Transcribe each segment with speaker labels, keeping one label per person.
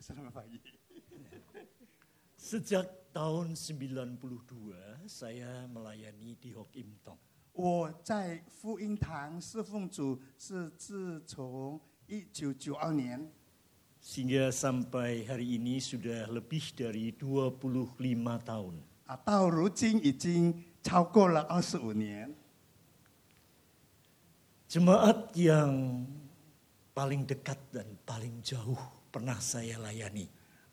Speaker 1: selama pagi.
Speaker 2: Sejak tahun 92 saya melayani di Hok Im Tong.
Speaker 1: 我在福音堂侍奉主是自从一九九二年
Speaker 2: Sehingga sampai hari ini sudah lebih dari 25 tahun.
Speaker 1: 啊，到如今已经超过了二十五年。
Speaker 2: Jemaat yang paling dekat dan paling jauh pernah saya layani.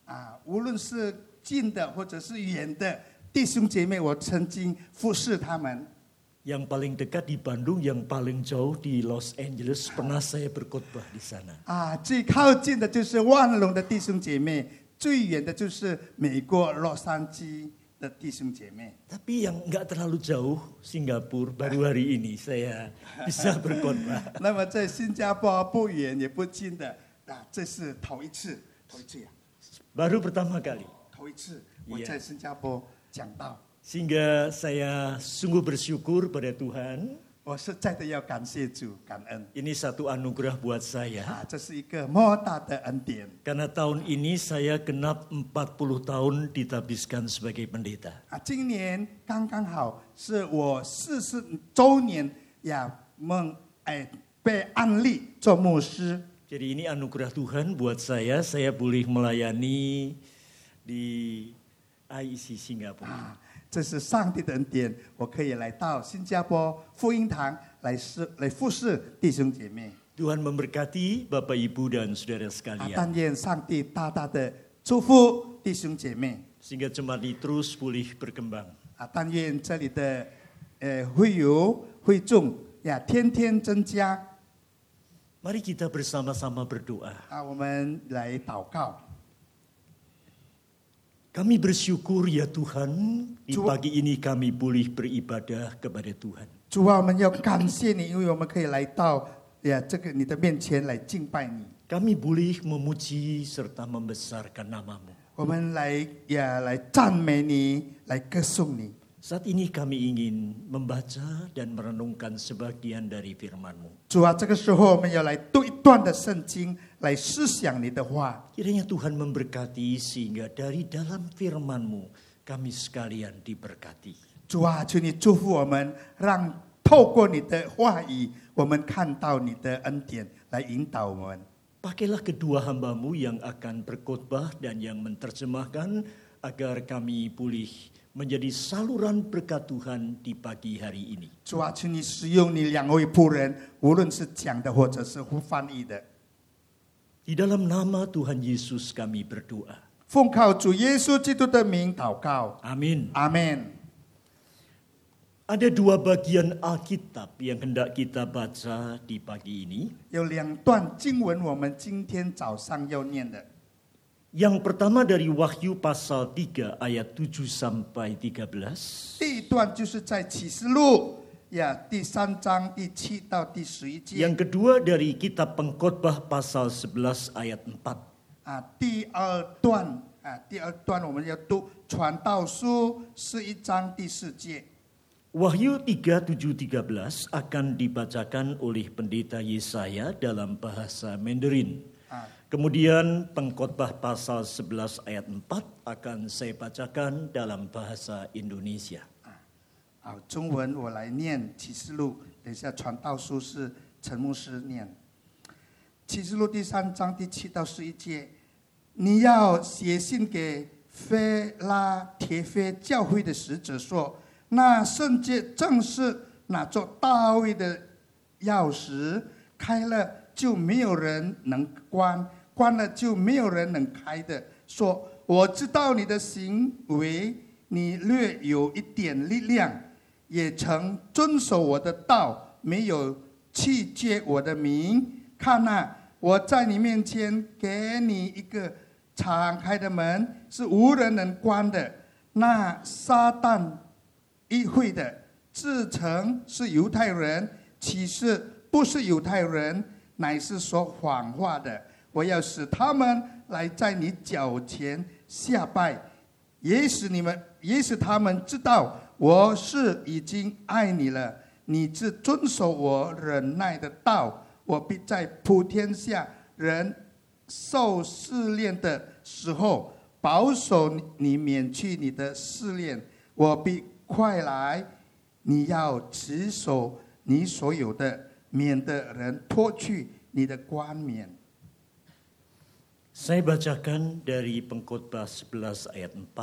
Speaker 1: 啊，无论是近的或者是远的弟兄姐妹，我曾经服侍他们。
Speaker 2: Yang paling dekat di Bandung, yang paling jauh di Los Angeles pernah saya berkhotbah di sana.
Speaker 1: 啊，最靠近的就是万隆的弟兄姐妹，最远的就是美国洛杉矶的弟兄姐妹。
Speaker 2: Tapi yang nggak terlalu jauh Singapura baru hari ini saya bisa berkhotbah.
Speaker 1: 那么在新加坡不远也不近的，啊，这是头一次，头一次呀、
Speaker 2: Baru pertama kali.
Speaker 1: 头一次我
Speaker 2: Yeah.
Speaker 1: 在新加坡讲道，
Speaker 2: Sehingga saya sungguh bersyukur pada Tuhan.
Speaker 1: 我实在的要感谢主，感恩
Speaker 2: Ini satu anugerah buat saya.
Speaker 1: 啊，这是一个莫大的恩典
Speaker 2: Karena tahun ini saya genap 40 tahun ditabiskan sebagai pendeta.
Speaker 1: 啊！今年刚刚好是我四十周年呀，梦哎被安利做牧师
Speaker 2: Jadi ini anugerah Tuhan buat saya. Saya boleh melayani di IEC Singapura.
Speaker 1: 啊，这是上帝的恩典，我可以来到新加坡福音堂来侍来服侍弟兄姐妹
Speaker 2: Tuhan memberkati Bapak Ibu dan saudara
Speaker 1: 啊！
Speaker 2: sekalian.
Speaker 1: 但愿上帝大大的祝福弟兄姐妹
Speaker 2: Sehingga jemaat ini terus boleh berkembang.
Speaker 1: 啊！但愿这里的呃会友会众呀天天增加
Speaker 2: Mari kita bersama-sama berdoa.
Speaker 1: 啊！我们来祷告。
Speaker 2: Kami bersyukur ya Tuhan, di
Speaker 1: Cuma-
Speaker 2: pagi ini kami boleh beribadah kepada Tuhan.
Speaker 1: 主啊，我们要感谢你，因为我们可以来到呀这个你的面前来敬拜你。
Speaker 2: Kami boleh memuji serta membesarkan namamu.
Speaker 1: 我们来呀来赞美你，来歌颂你。
Speaker 2: Saat ini kami ingin membaca dan merenungkan sebagian dari firman-Mu.
Speaker 1: 主啊，这个时候我们要来读一段的圣经，来思想你的话。
Speaker 2: Kiranya Tuhan memberkati sehingga dari dalam firman-Mu kami sekalian diberkati.
Speaker 1: 主啊，求你祝福我们，让透过你的话语，我们看到你的恩典，来引导我们。
Speaker 2: Pakailah kedua hambamu yang akan berkhotbah dan yang menerjemahkan agar kami boleh menjadi saluran berkat Tuhan di pagi hari ini.
Speaker 1: 主啊，请你使用你两位仆人，无论是讲的或者是翻译的。
Speaker 2: Di dalam nama Tuhan Yesus kami berdoa.
Speaker 1: 奉靠主耶稣基督的名祷告，
Speaker 2: Amin.
Speaker 1: 阿门。
Speaker 2: Ada dua bagian Alkitab yang hendak kita baca di pagi ini.
Speaker 1: 有两段经文，我们今天早上要念的。
Speaker 2: Yang pertama dari Wahyu pasal 3 ayat 7 sampai 13.
Speaker 1: 第一段就是在启示录呀第三章第七到第十一节。
Speaker 2: Yang kedua dari kitab Pengkhotbah pasal 11 ayat 4.
Speaker 1: 啊，第二段啊，第二段我们要读《传道书》是一章第四节
Speaker 2: Wahyu 37:13 akan dibacakan oleh pendeta Yesaya dalam bahasa Mandarin.
Speaker 1: 啊
Speaker 2: Kemudian pengkhotbah pasal 11 ayat 4 akan saya bacakan dalam bahasa Indonesia.
Speaker 1: 啊，中文我来念《启示录》，等一下《传道书》是陈牧师念，《启示录》第三章第七到十一节，你要写信给菲拉铁非教会的使者说，那圣洁正是那座大卫的钥匙，开了就没有人能关，关了就没有人能开的。说我知道你的行为，你略有一点力量，也曾遵守我的道，没有弃绝我的名。看呐、我在你面前给你一个敞开的门，是无人能关的。那撒旦议会的，自称是犹太人，其实不是犹太人，乃是说谎话的。我要使他们来在你脚前下拜，也使你们，也使他们知道我是已经爱你了。你只遵守我忍耐的道，我必在普天下人受试炼的时候，保守你免去你的试炼。我必快来，你要持守你所有的，免得人脱去你的冠冕。
Speaker 2: Saya bacakan dari pengkhotbah 11 ayat 4.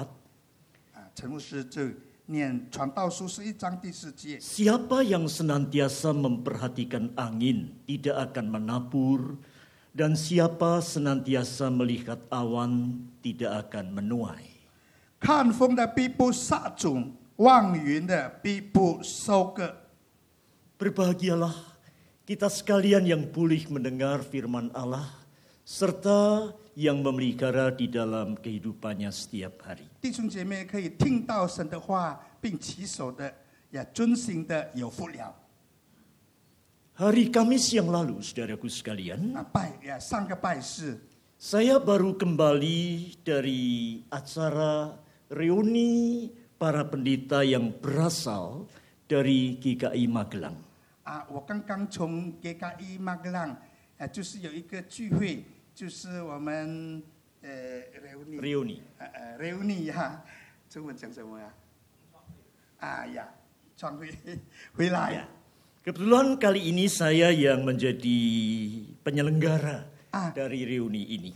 Speaker 1: 啊，陈牧师就念《传道书》是一章第四节。
Speaker 2: Siapa yang senantiasa memperhatikan angin tidak akan menabur dan siapa senantiasa melihat awan tidak akan menuai.
Speaker 1: 看风的必不撒种，望云的必不收割。
Speaker 2: Berbahagialah kita sekalian yang boleh mendengar firman Allah serta yang memelihara di dalam kehidupannya setiap hari.
Speaker 1: 弟兄姐妹可以听到神的话，并起手的，也遵行的，有福了。
Speaker 2: Hari Kamis yang lalu, saudaraku sekalian,
Speaker 1: 那啊拜呀，上个拜是
Speaker 2: saya baru kembali dari acara reuni para pendeta yang berasal dari GKI Magelang.
Speaker 1: 啊，我刚刚从格嘎伊马格浪，啊，就是有一个聚会，就是我们呃 reuni
Speaker 2: Reuni.
Speaker 1: 呃呃 reuni 哈、中文讲什么呀、啊？呀，创会 回来。
Speaker 2: Ya. Kebetulan kali ini saya yang menjadi penyelenggara
Speaker 1: Ah.
Speaker 2: dari reuni ini.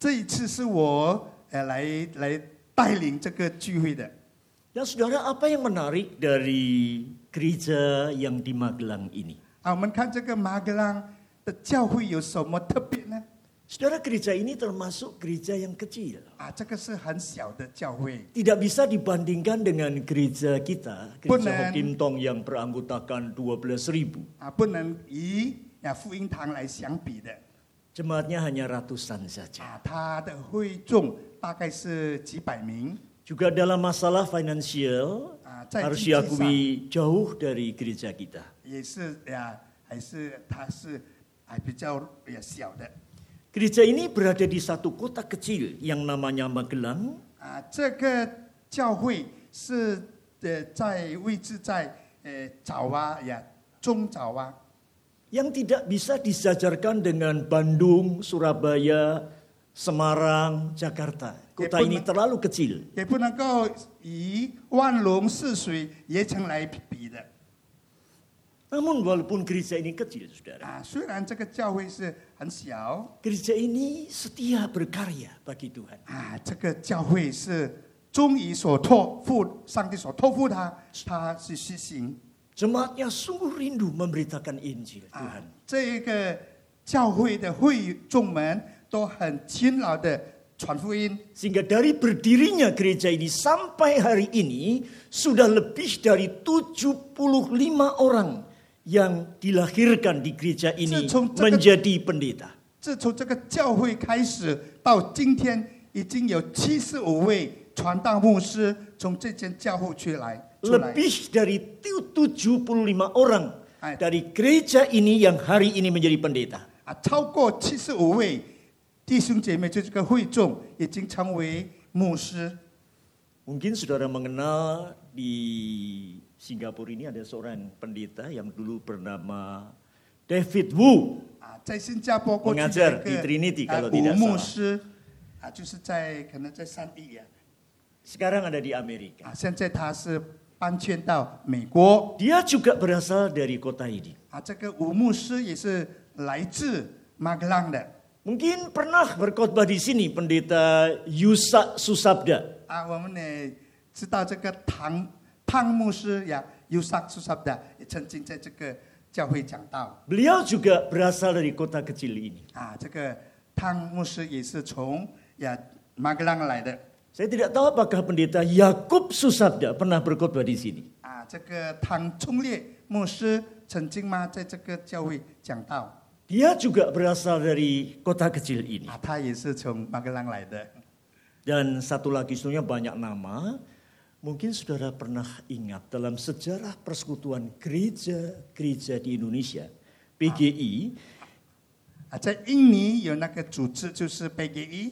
Speaker 1: 这一次是我呃来来带领这个聚会的。
Speaker 2: Dan saudara, apa yang menarik dari gereja yang di Magelang ini?
Speaker 1: 啊，我们看这个马格朗的教会有什么特别呢？
Speaker 2: Saudara, gereja ini termasuk gereja yang kecil.
Speaker 1: 啊，这个是很小的教会，
Speaker 2: Tidak bisa dibandingkan dengan gereja kita,
Speaker 1: Punan.
Speaker 2: gereja Hokim Tong yang beranggotakan 12.000 ribu.
Speaker 1: 啊，不能以啊福音堂来相比的。
Speaker 2: Jemaatnya hanya ratusan saja.
Speaker 1: 啊，他的会众大概是几百名
Speaker 2: Juga dalam masalah finansial,
Speaker 1: Ah, cai
Speaker 2: harus
Speaker 1: cici
Speaker 2: diakui jauh dari gereja kita.
Speaker 1: 也是呀，还是他是还比较也小的。
Speaker 2: Gereja ini berada di satu kota kecil yang namanya Magelang.
Speaker 1: 啊，这个教会是呃在位置在呃早啊呀中早啊
Speaker 2: yang tidak bisa disajarkan dengan Bandung, Surabaya, Semarang, Jakarta.
Speaker 1: Ya,
Speaker 2: Kota
Speaker 1: pun-
Speaker 2: ini terlalu kecil.
Speaker 1: 也不能够以万隆泗水也城来比的
Speaker 2: Namun walaupun gereja ini kecil, saudara,
Speaker 1: 啊。虽然这个教会是很小
Speaker 2: gereja ini setia berkarya bagi Tuhan.
Speaker 1: 啊，这个教会是忠于所托付，上帝所托付他，他是实行
Speaker 2: Jemaatnya sungguh rindu memberitakan Injil
Speaker 1: 啊
Speaker 2: Tuhan.。
Speaker 1: 这一个教会的会众们都很勤劳的传福音
Speaker 2: Sehingga dari berdirinya gereja ini sampai hari ini sudah lebih dari 75 orang yang dilahirkan di gereja ini
Speaker 1: Cecung, ceket.
Speaker 2: menjadi pendeta.
Speaker 1: 自从这个教会开始到今天，已经有七十五位传道牧师从这间教会出来出来。
Speaker 2: Lebih dari 75 orang
Speaker 1: Hai.
Speaker 2: dari gereja ini yang hari ini menjadi pendeta.
Speaker 1: 啊，超过七十五位弟兄姐妹，就这个会众已经成为牧师。
Speaker 2: Mungkin saudara mengenal di Singapura ini ada seorang pendeta yang dulu bernama David Wu.
Speaker 1: 啊，在新加坡过去有
Speaker 2: Mengajar
Speaker 1: 一个
Speaker 2: di Trinity
Speaker 1: 啊
Speaker 2: kalau
Speaker 1: 古
Speaker 2: tidak
Speaker 1: 牧
Speaker 2: salah
Speaker 1: 师啊，就是在可能在三地啊呀、
Speaker 2: Sekarang ada di Amerika.
Speaker 1: 啊，现在他是搬迁到美国
Speaker 2: Dia juga berasal dari kota ini.
Speaker 1: 啊。这个吴牧师也是来自马格朗的
Speaker 2: Mungkin pernah berkhotbah di sini pendeta Yusak Susabda.
Speaker 1: 啊。我们呢知道这个唐汤牧师呀，尤萨苏萨的也曾经在这个教会讲道。
Speaker 2: Beliau juga berasal dari kota kecil ini.
Speaker 1: 啊，这个汤牧师也是从呀马格朗来的
Speaker 2: Saya tidak tahu apakah pendeta Yakub Susabda pernah berkhotbah di sini.
Speaker 1: 啊。这个汤冲烈牧师曾经嘛在这个教会讲道
Speaker 2: Dia juga berasal dari kota kecil ini.
Speaker 1: 啊，他也是从马格朗来的
Speaker 2: Dan satu lagi sebenarnya banyak nama. Mungkin saudara pernah ingat dalam sejarah persekutuan gereja-gereja di Indonesia, PGI,
Speaker 1: 啊。在印尼有那个组织就是 E PGI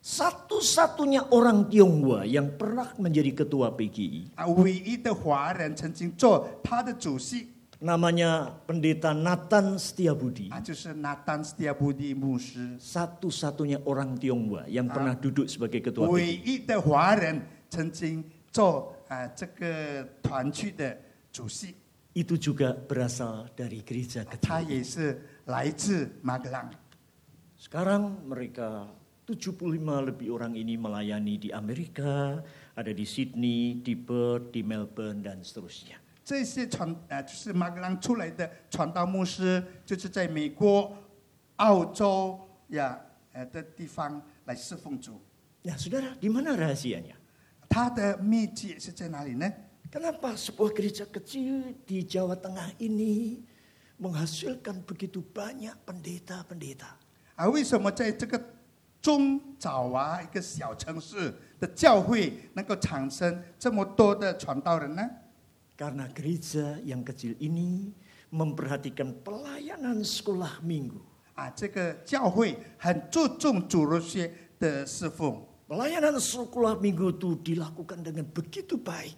Speaker 2: satu-satunya orang Tionghoa yang
Speaker 1: 啊
Speaker 2: pernah menjadi ketua PGI
Speaker 1: 啊，唯一的华人曾经做他的主席
Speaker 2: Namanya pendeta Nathan Setiabudi.
Speaker 1: 啊，就是拿丹斯蒂亚布蒂牧师，
Speaker 2: Satu-satunya orang Tionghoa yang pernah duduk sebagai ketua PG.
Speaker 1: 唯一的华人曾经做啊这个团区的主席，
Speaker 2: Itu juga berasal dari gereja
Speaker 1: 他
Speaker 2: kecil.
Speaker 1: 也是来自马格朗。
Speaker 2: Sekarang mereka 75 lebih orang ini melayani di Amerika, ada di Sydney, di Perth, di Melbourne, dan seterusnya.
Speaker 1: 这些传呃，就是马格朗出来的传道牧师，就是在美国、澳洲呀呃的地方来侍奉主。
Speaker 2: Nah, saudara, di mana rahasianya?
Speaker 1: 他的秘籍是在哪里呢？
Speaker 2: Kenapa sebuah gereja kecil di Jawa Tengah ini menghasilkan begitu banyak pendeta-pendeta?
Speaker 1: 啊，为什么在这个中爪哇一个小城市的教会能够产生这么多的传道人呢？
Speaker 2: Karena gereja yang kecil ini memperhatikan pelayanan sekolah minggu,
Speaker 1: 啊，这个教会很注重主日学的侍奉
Speaker 2: Pelayanan sekolah minggu itu dilakukan dengan begitu baik.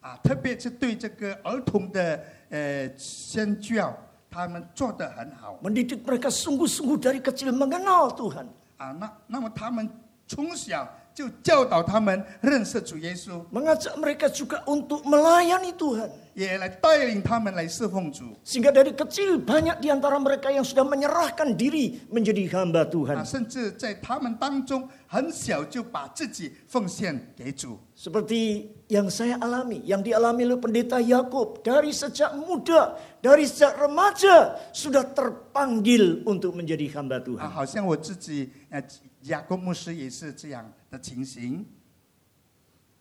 Speaker 1: 啊，特别是对这个儿童的呃宣教，他们做得很好。
Speaker 2: Mendidik mereka sungguh-sungguh dari kecil mengenal Tuhan.
Speaker 1: 啊，那那么他们从小就教导他们认识主耶稣，
Speaker 2: Mengajak mereka juga untuk melayani Tuhan.
Speaker 1: 也来带领他们来侍奉主。
Speaker 2: Sehingga dari kecil banyak di antara mereka yang sudah menyerahkan diri menjadi
Speaker 1: 啊，
Speaker 2: hamba Tuhan.
Speaker 1: 甚至在他们当中，很小就把自己奉献给主。
Speaker 2: Seperti yang saya alami, yang dialami oleh pendeta Yakub dari sejak muda, dari sejak remaja sudah terpanggil untuk menjadi
Speaker 1: 啊，
Speaker 2: hamba Tuhan.
Speaker 1: 好像我自己，呃，雅各牧师也是这样的情形。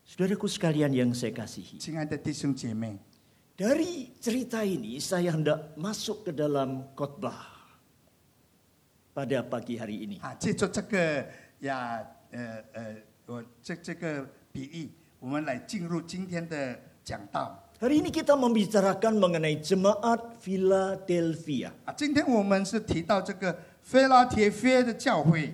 Speaker 2: Saudaraku sekalian yang saya kasihi.
Speaker 1: 亲爱的弟兄姐妹，
Speaker 2: Dari cerita ini saya hendak masuk ke dalam khotbah pada pagi hari ini.
Speaker 1: 啊，借助这个呀，呃呃，我这这个比喻，我们来进入今天的讲道。
Speaker 2: Hari ini kita membicarakan mengenai jemaat Philadelphia.
Speaker 1: 啊，今天我们是提到这个菲拉铁菲的教会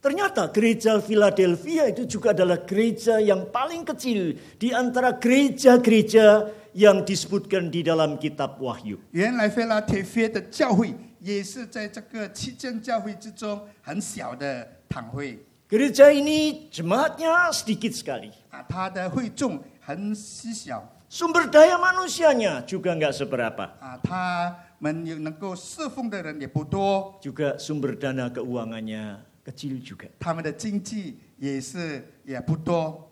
Speaker 2: Ternyata gereja Philadelphia itu juga adalah gereja yang paling kecil di antara gereja-gereja yang disebutkan di dalam kitab Wahyu.
Speaker 1: 原来菲拉铁菲的教会也是在这个七间教会之中很小的堂会
Speaker 2: Gereja ini jemaatnya sedikit sekali.
Speaker 1: 啊，它的会众很稀小
Speaker 2: Sumber daya manusianya juga nggak seberapa.
Speaker 1: 啊，他们有能够侍奉的人也不多，
Speaker 2: Juga sumber dana keuangannya kecil juga.
Speaker 1: 他们的经济也是也不多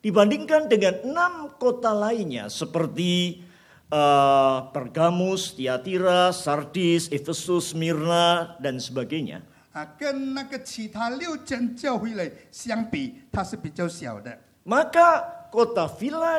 Speaker 2: Dibandingkan dengan enam kota lainnya seperti eh, Pergamus, Tiatira, Sardis, Efesus, Smyrna dan sebagainya.
Speaker 1: 啊，跟那个其他六间教会来相比，它是比较小的
Speaker 2: Maka kota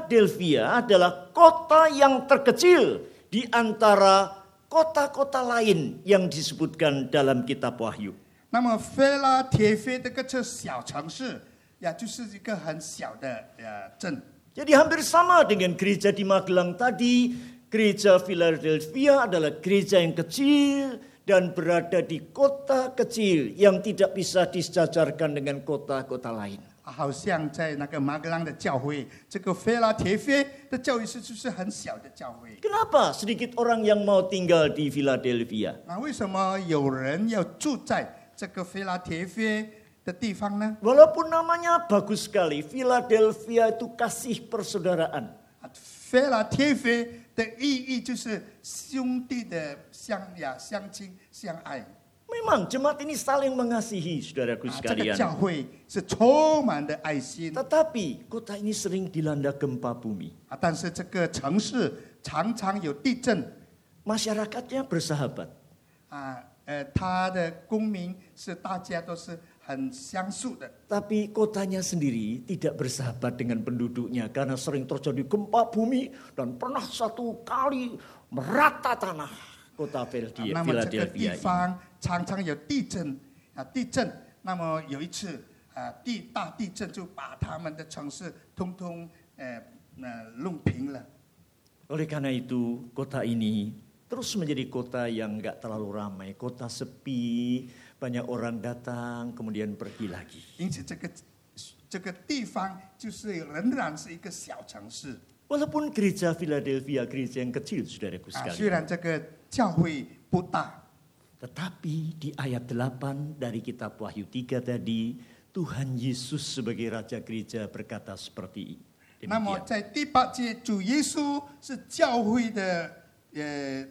Speaker 2: Philadelphia adalah kota yang terkecil di antara kota-kota lain yang disebutkan dalam kitab Wahyu.
Speaker 1: 那么菲拉铁菲这个这小城市呀，就是一个很小的呃镇
Speaker 2: Jadi hampir sama dengan gereja di Magelang tadi, gereja Philadelphia adalah gereja yang kecil dan berada di kota kecil yang tidak bisa disejajarkan dengan kota-kota lain.
Speaker 1: 啊，好像在那个马格朗的教会，这个菲拉铁菲的教会是就是很小的教会
Speaker 2: Kenapa sedikit orang yang mau tinggal di Philadelphia?
Speaker 1: 啊，为什么有人要住在这个菲拉铁菲的地方呢？
Speaker 2: Walaupun namanya bagus sekali, Philadelphia itu kasih persaudaraan.
Speaker 1: 啊，菲拉铁菲的意义就是兄弟的相呀相亲相爱啊，
Speaker 2: Memang jemaat ini saling mengasihi saudaraku
Speaker 1: 这个
Speaker 2: sekalian.
Speaker 1: 教会是充满的爱心
Speaker 2: Tetapi kota ini sering dilanda gempa bumi.
Speaker 1: 啊，但是这个城市常常有地震
Speaker 2: Masyarakatnya bersahabat.
Speaker 1: 啊，呃，它的公民是大家都是很相属的。
Speaker 2: Tapi kotanya sendiri tidak bersahabat dengan penduduknya karena sering terjadi gempa bumi dan pernah satu kali merata tanah kota
Speaker 1: 啊
Speaker 2: Philadelphia
Speaker 1: 那么这个地
Speaker 2: Philadelphia ini.
Speaker 1: 方常常有地震啊，地震。那么有一次啊，地大地震就把他们的城市通通呃呃弄平了
Speaker 2: Oleh karena itu kota ini terus menjadi kota yang nggak terlalu ramai, kota sepi, banyak orang datang kemudian pergi lagi.
Speaker 1: 因此这个这个地方就是仍然是一个小城市
Speaker 2: Walaupun gereja Philadelphia gereja yang kecil, saudaraku
Speaker 1: 啊，虽
Speaker 2: sekalian.
Speaker 1: 然这个教会不大，
Speaker 2: Tetapi di ayat 8 dari kitab Wahyu 3 tadi, Tuhan Yesus sebagai Raja Gereja berkata seperti
Speaker 1: 那么
Speaker 2: demikian.
Speaker 1: 在第八节，主耶稣是教会的呃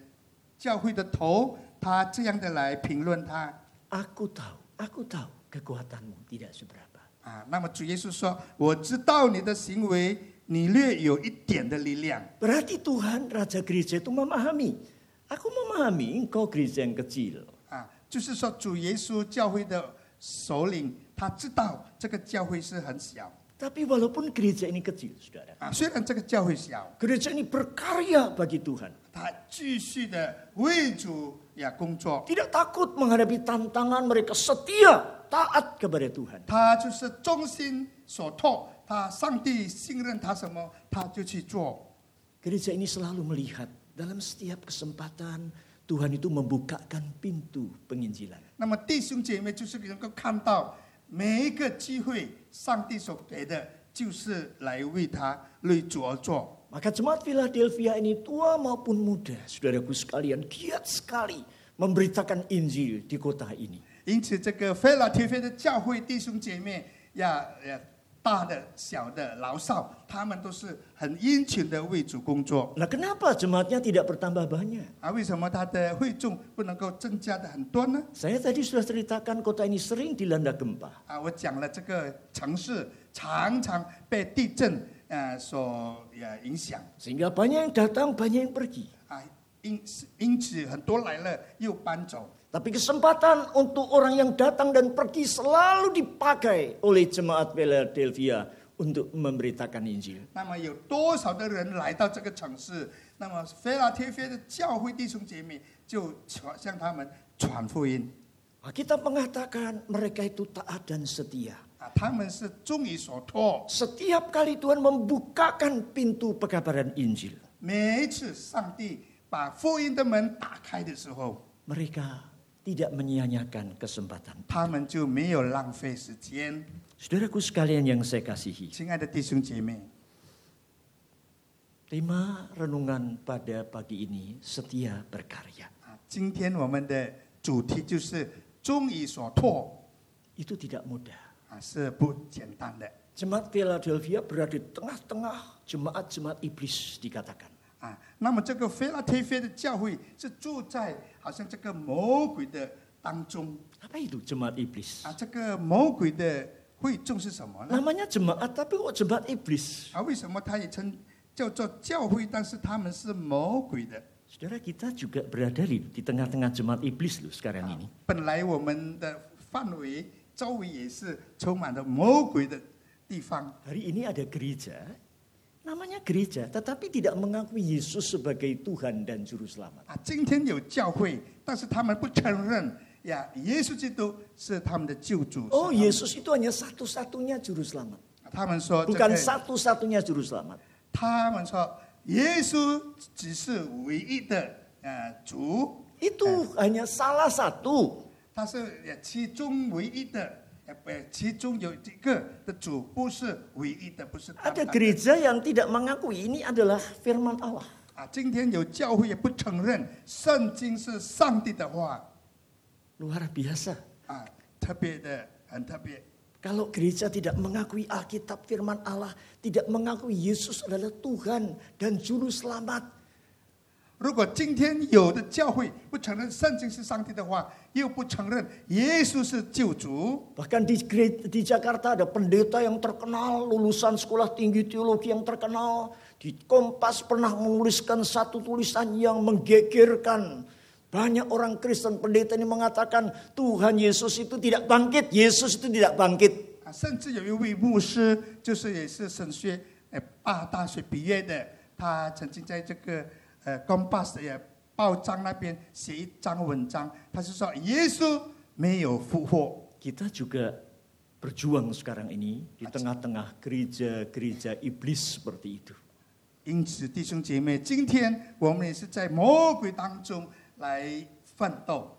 Speaker 1: 教会的头，他这样的来评论他
Speaker 2: Aku tahu, aku tahu kekuatanmu tidak seberapa.
Speaker 1: 啊。那么主耶稣说：“我知道你的行为，你略有一点的力量。
Speaker 2: Berarti Tuhan Raja Gereja itu memahami. Aku memahami engkau gereja yang kecil. ”
Speaker 1: 啊，就是说主耶稣教会的首领，他知道这个教会是很小
Speaker 2: Tapi walaupun gereja ini kecil, saudara.
Speaker 1: 啊。虽然这个教会小，
Speaker 2: Gereja ini berkarya bagi Tuhan.
Speaker 1: 他继续的为主呀工作，
Speaker 2: Tidak takut menghadapi tantangan mereka setia taat kepada Tuhan.
Speaker 1: 他就是忠心所托，他上帝信任他什么，他就去做。
Speaker 2: Gereja ini selalu melihat dalam setiap kesempatan Tuhan itu membukakan pintu penginjilan.
Speaker 1: 那么弟兄姐妹就是能够看到每一个机会，上帝所给的就是来为他为主而做。
Speaker 2: Maka jemaat Philadelphia ini tua maupun muda, saudaraku sekalian, giat sekali memberitakan Injil di kota ini.
Speaker 1: 因此，这个菲拉铁菲的教会弟兄姐妹呀，呃，大的、小的、老少，他们都是很殷勤的为主工作。
Speaker 2: Nah, kenapa jemaatnya tidak bertambah banyak?
Speaker 1: 啊，为什么他的会众不能够增加的很多呢？
Speaker 2: Saya tadi sudah ceritakan kota ini sering dilanda gempa.
Speaker 1: 啊，我讲了这个城市常常被地震呃所呃影响
Speaker 2: Sehingga banyak yang datang, banyak yang pergi.
Speaker 1: 啊，因此因此很多来了又搬走。
Speaker 2: Tapi kesempatan untuk orang yang datang dan pergi selalu dipakai oleh jemaat Philadelphia untuk memberitakan Injil.
Speaker 1: 那么有多少的人来到这个城市？那么菲拉铁菲的教会弟兄姐妹就传向他们传福音
Speaker 2: Nah, Kita mengatakan mereka itu taat dan setia.
Speaker 1: 啊，他们是忠于所托。
Speaker 2: Setiap kali Tuhan membukakan pintu pekabaran Injil,
Speaker 1: 每一次上帝把福音的门打开的时候，
Speaker 2: mereka tidak menyia-nyiakan kesempatan.
Speaker 1: 他们就没有浪费时间。
Speaker 2: Saudaraku sekalian yang saya kasihi,
Speaker 1: 亲爱的弟兄姐妹，
Speaker 2: tema renungan pada pagi ini setia berkarya.
Speaker 1: 啊，今天我们的主题就是忠于所托
Speaker 2: Itu tidak mudah.
Speaker 1: 啊，是不简单的
Speaker 2: Jemaat Philadelphia berada di tengah-tengah jemaat-jemaat iblis dikatakan.
Speaker 1: 啊。那么这个菲拉铁菲的教会是住在好像这个魔鬼的当中
Speaker 2: Apa itu jemaat iblis?
Speaker 1: 啊，这个魔鬼的会众是什么呢？
Speaker 2: Namanya jemaat tapi kok jemaat iblis?
Speaker 1: 啊，为什么他也称叫做教会，但是他们是魔鬼的？
Speaker 2: Saudara kita juga berada di, di tengah-tengah jemaat iblis loh sekarang ini.
Speaker 1: 本来我们的范围周围也是充满了魔鬼的地方
Speaker 2: Hari ini ada gereja, namanya gereja, tetapi tidak mengakui Yesus sebagai Tuhan dan Juru Selamat.
Speaker 1: 啊。今天有教会，但是他们不承认呀，耶稣基督是他们的救主。是他
Speaker 2: Oh
Speaker 1: 们
Speaker 2: Yesus itu hanya satu-satunya Juru Selamat.
Speaker 1: 他们说这
Speaker 2: Bukan
Speaker 1: 个，
Speaker 2: satu-satunya Juru Selamat.
Speaker 1: 他们说耶稣只是唯一的呃主，
Speaker 2: Itu hanya salah satu.
Speaker 1: 他是呃其中唯一的，呃不，其中有一个的主，不是唯一的，不是单
Speaker 2: Ada
Speaker 1: 单的
Speaker 2: gereja yang tidak mengakui ini adalah firman Allah.
Speaker 1: 啊。今天有教会也不承认圣经是上帝的话。
Speaker 2: Luar biasa.
Speaker 1: 啊，特别的，很特别。
Speaker 2: Kalau gereja tidak mengakui Alkitab firman Allah, tidak mengakui Yesus adalah Tuhan dan juru selamat,
Speaker 1: 如果今天有的教会不承认圣经是上帝的话，又不承认耶稣是救主，
Speaker 2: Bahkan di, gere- di Jakarta ada pendeta yang terkenal, lulusan sekolah tinggi teologi yang terkenal. Di Kompas pernah menuliskan satu tulisan yang menggegerkan. Banyak orang Kristen pendeta ini mengatakan Tuhan Yesus itu tidak bangkit, Yesus itu tidak bangkit.
Speaker 1: 啊，甚至有一位牧师，就是也是神学呃大大学毕业的，他曾经在这个呃 Compass 也报章那边写一张文章，他是说耶稣没有复活。
Speaker 2: Kita juga berjuang sekarang ini di tengah-tengah gereja-gereja iblis seperti itu.
Speaker 1: 因此，弟兄姐妹，今天我们也是在魔鬼当中来奋斗。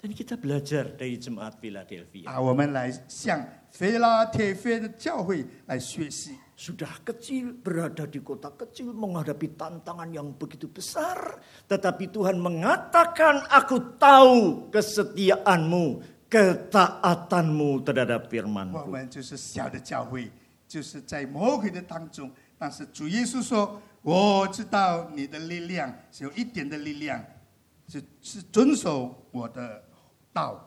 Speaker 2: Dan kita belajar dari jemaat Philadelphia.
Speaker 1: 啊，我们来向菲拉铁菲的教会来学习。
Speaker 2: Sudah kecil, berada di kota kecil, menghadapi tantangan yang begitu besar. Tetapi Tuhan mengatakan, aku tahu kesetiaanmu, ketaatanmu terhadap
Speaker 1: 我
Speaker 2: firmanku.
Speaker 1: 们就是小的教会，就是在魔鬼的当中。但是主耶稣说：“我知道你的力量是有一点的力量，是是遵守我的道。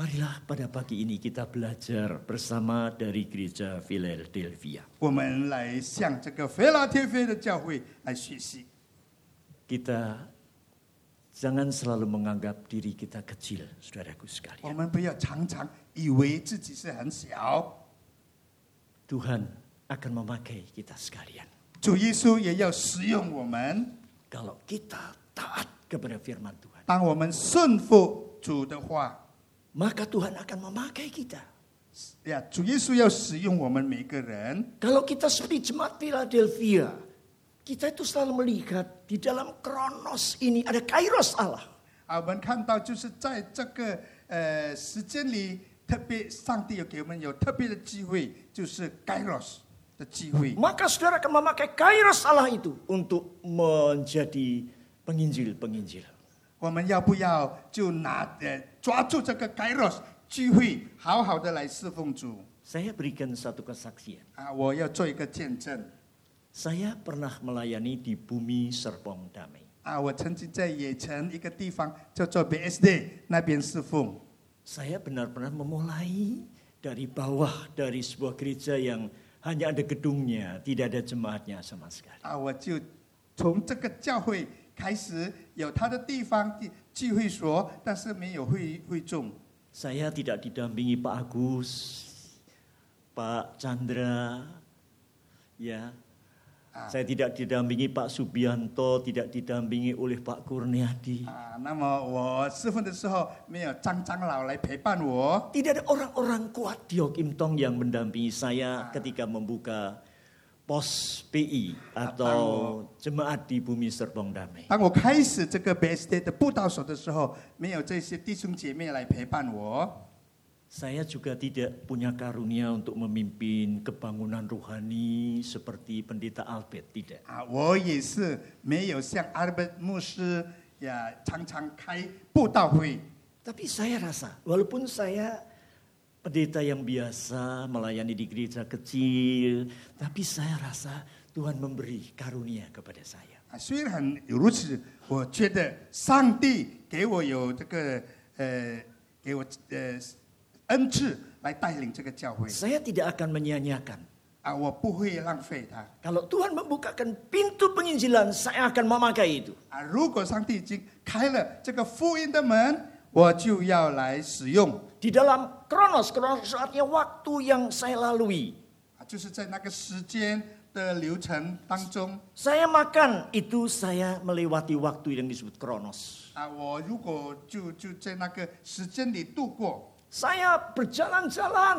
Speaker 2: Marilah pada pagi ini kita belajar bersama dari gereja Philadelphia. ”
Speaker 1: 我们来向这个菲拉铁菲的教会来学习。
Speaker 2: Kita jangan selalu menganggap diri kita kecil, saudaraku
Speaker 1: 我
Speaker 2: sekalian.
Speaker 1: 们不要常常以为自己是很小，
Speaker 2: Tuhan akan memakai kita sekalian.
Speaker 1: 主耶稣也要使用我们。
Speaker 2: Kalau kita taat kepada firman Tuhan,
Speaker 1: 当我们顺服主的话，
Speaker 2: maka Tuhan akan memakai kita.
Speaker 1: 呀，主耶稣要使用我们每个人。
Speaker 2: Kalau kita seperti jemaat Philadelphia, kita itu selalu melihat di dalam kronos ini ada kairos Allah.
Speaker 1: 啊，我们看到就是在这个呃时间里，特别上帝有给我们有特别的机会，就是 Kairos 的机会。
Speaker 2: Maka saudara akan memakai kairos Allah itu untuk menjadi penginjil-penginjil.
Speaker 1: 我们要不要就拿呃抓住这个 Kairos 机会，好好的来侍奉主
Speaker 2: Saya berikan satu kesaksian.
Speaker 1: 啊！我要做一个见证
Speaker 2: Saya pernah melayani di bumi Serpong Damai.
Speaker 1: 啊！我曾经在野城一个地方叫做 BSD 那边侍奉。
Speaker 2: Saya benar-benar memulai dari bawah dari sebuah gereja yang hanya ada gedungnya, tidak ada jemaatnya sama sekali.
Speaker 1: 啊，我就从这个教会开始有他的地方聚聚会所，但是没有会会众。
Speaker 2: Saya tidak didampingi Pak Agus, Pak Chandra, ya. Saya tidak didampingi Pak Subianto, tidak didampingi oleh Pak Kurniadi.
Speaker 1: 啊，那么我侍奉的时候没有张长老来陪伴我，
Speaker 2: Tidak ada orang-orang kuat di Hokim Tong yang mendampingi saya ketika membuka pos PI atau jemaat di bumi Serpong Damai.
Speaker 1: 当我开始这个 BSD 的布道所的时候，没有这些弟兄姐妹来陪伴我。
Speaker 2: Saya juga tidak punya karunia untuk memimpin kebangunan rohani seperti pendeta Albert, tidak.
Speaker 1: 啊，我也是没有像阿伯牧师呀常常开布道会。
Speaker 2: Tapi saya rasa, walaupun saya pendeta yang biasa melayani di gereja kecil, tapi saya rasa Tuhan memberi karunia kepada saya.
Speaker 1: 啊，虽然如此，我觉得上帝给我有这个呃，给我呃恩赐来带领这个教会
Speaker 2: Saya tidak akan menyia-nyiakan
Speaker 1: 啊，我不会浪费它
Speaker 2: Kalau Tuhan membukakan pintu penginjilan, saya akan memakai itu.
Speaker 1: 啊。如果上帝已经开了这个福音的门，我就要来使用
Speaker 2: Di dalam kronos, kronos artinya waktu yang saya lalui.
Speaker 1: 啊，就是在那个时间的流程当中
Speaker 2: Saya makan, itu saya melewati waktu yang disebut kronos.
Speaker 1: 啊，我如果就就在那个时间里度过
Speaker 2: Saya berjalan-jalan,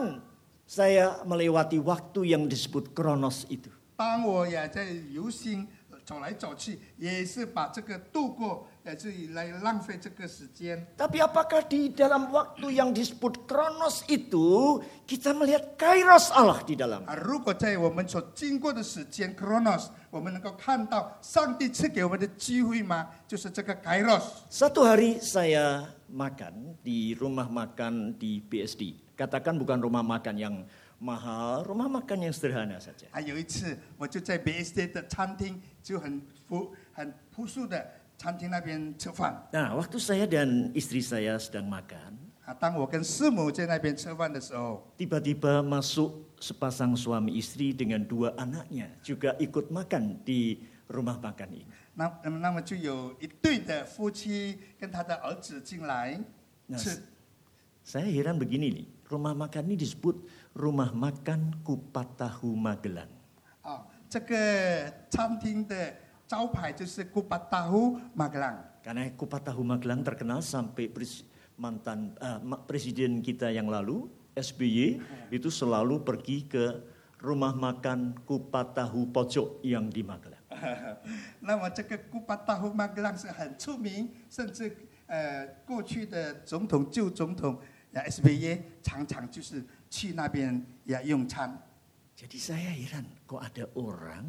Speaker 2: saya melewati waktu yang disebut kronos itu.
Speaker 1: 当我也在游行走来走去，也是把这个度过，也是来浪费这个时间。
Speaker 2: Tapi apakah di dalam waktu yang disebut kronos itu, kita melihat kairos Allah di dalam.
Speaker 1: 啊，如果在我们所经过的时间 （chronos），我们能够看到上帝赐给我们的机会吗？就是这个 kairos。
Speaker 2: Satu hari saya makan di rumah makan di BSD. Katakan bukan rumah makan yang mahal, rumah makan yang sederhana saja.
Speaker 1: 啊，有一次我就在 BSD 的餐厅，就很朴很朴素的餐厅那边吃饭。
Speaker 2: Nah, waktu saya dan istri saya sedang makan,
Speaker 1: 啊，当我跟师母在那边吃饭的时候，
Speaker 2: tiba-tiba masuk sepasang suami istri dengan dua anaknya juga ikut makan di rumah makan ini.
Speaker 1: 那那么那么就有一对的夫妻跟他的儿子进来
Speaker 2: Nah,
Speaker 1: 吃。
Speaker 2: saya heran begini nih, rumah makan ini disebut rumah makan kupat tahu Magelang.
Speaker 1: 啊，这个餐厅的招牌就是古巴达胡马格朗。
Speaker 2: Karena kupat tahu Magelang terkenal sampai pres- mantan eh, ma- presiden kita yang lalu SBY itu selalu pergi ke rumah makan kupat tahu pojok yang di Magelang.
Speaker 1: 那么这个古巴达胡马格朗是很出名，甚至呃，过去的总统、旧总统，呀 SBY 常常就是去那边呀用餐。
Speaker 2: Jadi saya heran kok ada orang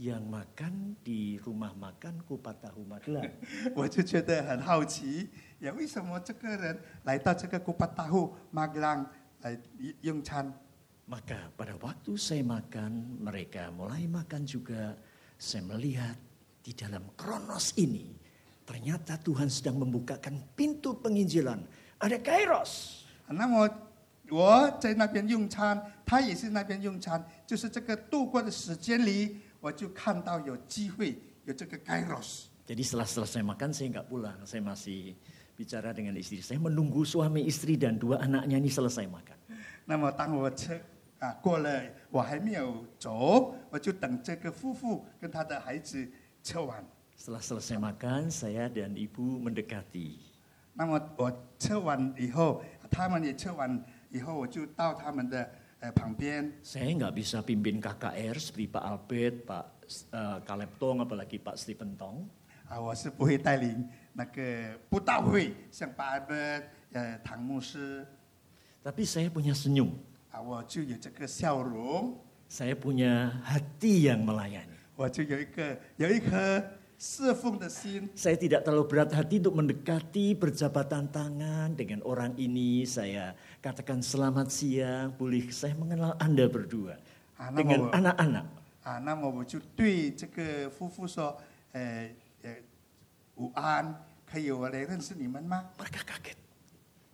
Speaker 2: yang makan di rumah makan Kupat Tahu Magelang.
Speaker 1: 我就觉得很好奇，也为什么这个人来到这个古巴大户马格朗来用餐？
Speaker 2: Maka pada waktu saya makan, mereka mulai makan juga. Saya melihat di dalam kronos ini, ternyata Tuhan sedang membukakan pintu penginjilan. Ada kairos.
Speaker 1: 那么我在那边用餐，他也是那边用餐，就是这个度过的时间里，我就看到有机会有这个 Kairos。
Speaker 2: Jadi setelah selesai makan saya nggak pulang, saya masih bicara dengan istri. Saya menunggu suami istri dan dua anaknya ini selesai makan.
Speaker 1: 那么当我吃啊过了，我还没有走，我就等这个夫妇跟他的孩子吃完。
Speaker 2: Setelah selesai makan, saya dan ibu mendekati.
Speaker 1: 那么我吃完以后，他们也吃完以后，我就到他们的呃旁边。
Speaker 2: Saya nggak bisa pimpin KKR seperti Pak Albert, Pak eh, Kaleb Tong, apalagi Pak Stephen Tong.
Speaker 1: 啊，我是不会带领那个布道会，像巴伯、呃唐牧师
Speaker 2: Tapi saya punya senyum,
Speaker 1: 啊，我就有这个笑容，
Speaker 2: saya punya hati yang melayani.
Speaker 1: 我就有一个有一颗侍奉的心，
Speaker 2: Saya tidak terlalu berat hati untuk mendekati berjabatan tangan dengan orang ini. Saya katakan selamat siang, boleh saya mengenal Anda berdua.
Speaker 1: Ah, nama
Speaker 2: dengan
Speaker 1: apa?
Speaker 2: anak-anak.
Speaker 1: 啊，那么我就对这个夫妇说，呃呃，午安，可以我来认识你们吗？
Speaker 2: Mereka kaget.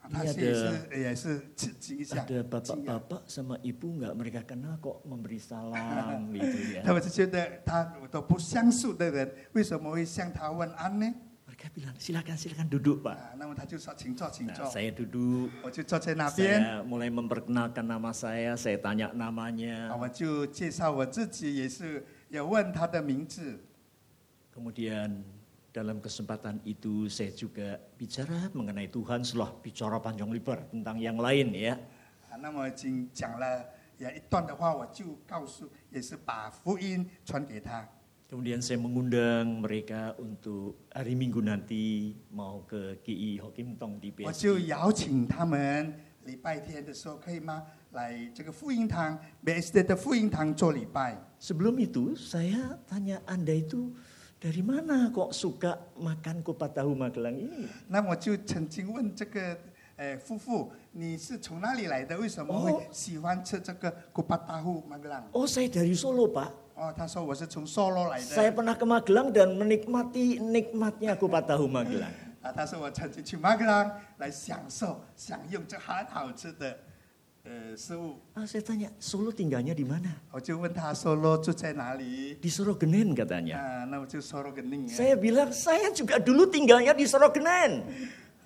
Speaker 1: 啊、他
Speaker 2: 你
Speaker 1: 是
Speaker 2: 也
Speaker 1: 也
Speaker 2: 得
Speaker 1: 是也是吃惊一下，
Speaker 2: Ada
Speaker 1: 惊讶
Speaker 2: bapak-bapak sama ibu nggak mereka kenal kok memberi salam gitu ya.
Speaker 1: 他们就觉得他我都不相熟的人，为什么会向他问安呢？
Speaker 2: Mereka bilang silakan silakan duduk pak.
Speaker 1: 啊，那么他就说，请坐，请
Speaker 2: Nah,
Speaker 1: 坐，
Speaker 2: saya duduk.
Speaker 1: 我就坐在那边。
Speaker 2: Saya mulai memperkenalkan nama saya, saya tanya
Speaker 1: 啊，
Speaker 2: namanya.
Speaker 1: 我就介绍我自己，也是也问他的名字。
Speaker 2: Kemudian dalam kesempatan itu saya juga bicara mengenai Tuhan setelah bicara panjang lebar tentang yang lain ya.
Speaker 1: 啊，那么已经讲了也一段的话，我就告诉，也是把福音传给他。
Speaker 2: Kemudian saya mengundang mereka untuk hari Minggu nanti mau ke KI Hokim Tong di
Speaker 1: 我
Speaker 2: PSG.
Speaker 1: 就邀请他们礼拜天的时候可以吗？来这个福音堂 b s d 的福音堂做礼拜。
Speaker 2: Sebelum itu saya tanya Anda itu dari mana kok suka makan kupat tahu Magelang ini?
Speaker 1: 那我就曾经问这个呃夫妇，你是从哪里来的？为什么
Speaker 2: 哦
Speaker 1: 会喜欢吃这个古巴大户马格朗？
Speaker 2: Oh saya dari Solo Pak.
Speaker 1: 哦，他说我是从 Solo 来
Speaker 2: Saya
Speaker 1: 的。
Speaker 2: pernah ke Magelang dan menikmati nikmatnya kupat tahu Magelang.
Speaker 1: 啊，他说我曾经去马格朗来享受、享用这很好吃的呃食物。
Speaker 2: Ah, saya tanya, Solo tinggalnya di mana?
Speaker 1: 我就问他 Solo 住在哪里？
Speaker 2: Di Sorogenen katanya.
Speaker 1: 啊，那我就 Solo 跟你。
Speaker 2: Iya. Saya bilang, saya juga dulu tinggalnya di Sorogenen.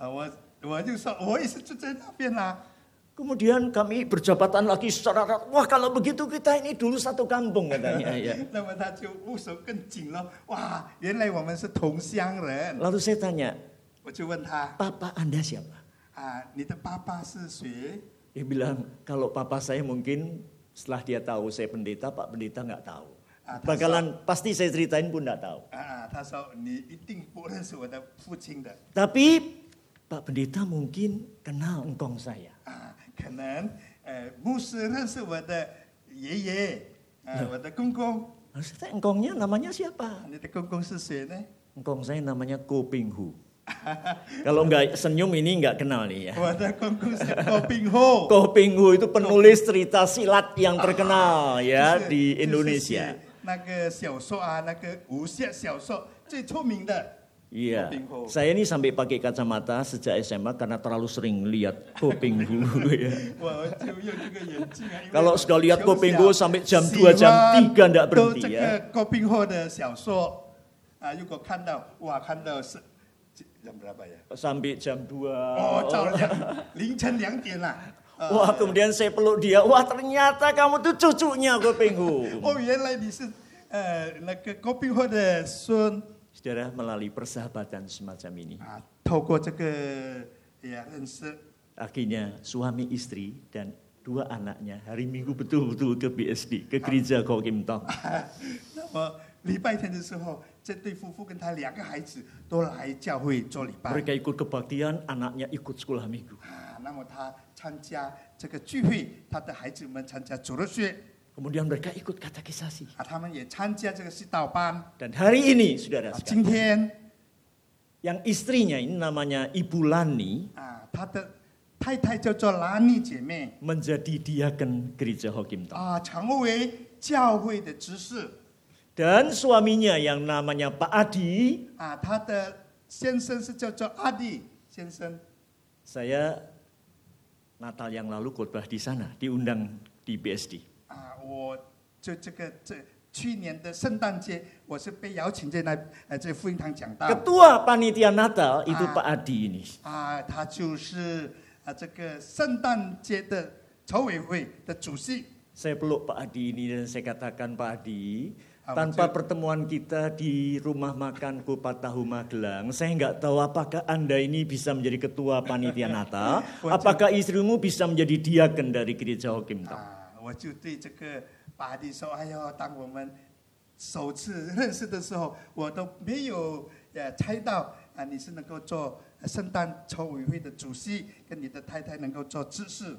Speaker 1: 啊，我我就说我也是住在那边啦、啊
Speaker 2: Kemudian kami berjabatan lagi secara erat. Wah kalau begitu kita ini dulu satu
Speaker 1: Iya,
Speaker 2: kampung katanya. ya.
Speaker 1: 那么他就握手更紧了。哇，原来我们是同乡人。
Speaker 2: Lalu saya tanya,
Speaker 1: 我就问他
Speaker 2: papa Anda siapa?
Speaker 1: 啊，你的爸爸是谁？
Speaker 2: Dia bilang, kalau papa saya mungkin setelah dia tahu saya pendeta, Pak Pendeta nggak tahu.
Speaker 1: Ah, tak
Speaker 2: Bakalan pasti saya ceritain pun nggak tahu.
Speaker 1: 啊，他说你一定不认识我的父亲的
Speaker 2: Tapi Pak Pendeta mungkin kenal engkong saya.
Speaker 1: 啊，可能呃牧师认识我的爷爷，呃我的公公，啊
Speaker 2: Lalu saya tanya, engkongnya namanya siapa?
Speaker 1: 你的公公是谁呢？
Speaker 2: Engkong saya namanya Kopinghu. Kalau nggak senyum ini nggak kenal nih ya.
Speaker 1: 我的公公是郭炳厚，
Speaker 2: Kopinghu itu penulis cerita silat yang terkenal
Speaker 1: 就
Speaker 2: ya
Speaker 1: 是
Speaker 2: di
Speaker 1: 就是写
Speaker 2: Dạ, Indonesia.
Speaker 1: 那个小说啊，那个武侠小说最出名的。
Speaker 2: Iya,
Speaker 1: Kopinghu.
Speaker 2: saya ini sampai pakai kacamata sejak SMA karena terlalu sering lihat Kopinghu ya.
Speaker 1: 我就用这个眼镜啊。因为我
Speaker 2: Kalau sudah lihat
Speaker 1: 从
Speaker 2: Kopinghu
Speaker 1: 小
Speaker 2: sampai jam
Speaker 1: 喜
Speaker 2: dua, jam
Speaker 1: 欢
Speaker 2: tiga ndak
Speaker 1: 读
Speaker 2: berhenti
Speaker 1: 这
Speaker 2: ya.
Speaker 1: 个郭炳厚的小说啊，如果看到哇，看到是几 jam berapa ya？
Speaker 2: Sampai jam 2.
Speaker 1: 哦，照亮凌晨两点啦、啊。
Speaker 2: Wah, kemudian saya peluk dia. Wah, ternyata kamu tuh cucunya Kopinghu.
Speaker 1: 哦，原来你是呃那个郭炳厚的孙
Speaker 2: Saudara melalui persahabatan semacam ini,
Speaker 1: 啊，透过这个也认识。
Speaker 2: akhirnya suami istri dan dua anaknya hari Minggu betul-betul ke BSD, ke gereja Kokim Tong.
Speaker 1: 那么礼拜天的时候，这对夫妇跟他两个孩子都来教会做礼拜
Speaker 2: Mereka ikut kebaktian, anaknya ikut sekolah minggu.
Speaker 1: 啊。那么他参加这个聚会，他的孩子们参加主日学
Speaker 2: Kemudian mereka ikut katekisasi.
Speaker 1: 啊，他们也参加这个洗祷班啊。
Speaker 2: Dan hari ini, saudara
Speaker 1: 今
Speaker 2: sekalian,
Speaker 1: 天
Speaker 2: yang istrinya ini namanya Ibu Lani,
Speaker 1: 啊，他的太太叫做兰妮姐妹
Speaker 2: menjadi diaken gereja Hokim Tong.
Speaker 1: 啊，常务为教会的执事
Speaker 2: Dan suaminya yang namanya Pak Adi,
Speaker 1: 啊，他的先生是叫做阿弟先生
Speaker 2: saya Natal yang lalu khotbah di sana, diundang di BSD.
Speaker 1: 啊，我就这个这去年的圣诞节，我是被邀请在那呃这福音堂讲道。
Speaker 2: Ketua panitia Natal itu
Speaker 1: Ah.
Speaker 2: Pak Adi ini.
Speaker 1: 啊，他就是啊这个圣诞节的筹委会的主席
Speaker 2: Saya peluk Pak Adi ini dan saya katakan Pak Adi,
Speaker 1: Apa,
Speaker 2: tanpa
Speaker 1: Cik?
Speaker 2: pertemuan kita di rumah makan Kupat Tahu Magelang, saya nggak tahu apakah Anda ini bisa menjadi ketua panitia Natal,
Speaker 1: Wajib.
Speaker 2: apakah istrimu bisa menjadi diaken dari gereja Hokim Tong.
Speaker 1: 啊，我就对这个巴蒂说，哎呦，当我们首次认识的时候，我都没有呃猜到啊你是能够做呃圣诞筹委会的主席，跟你的太太能够做知事。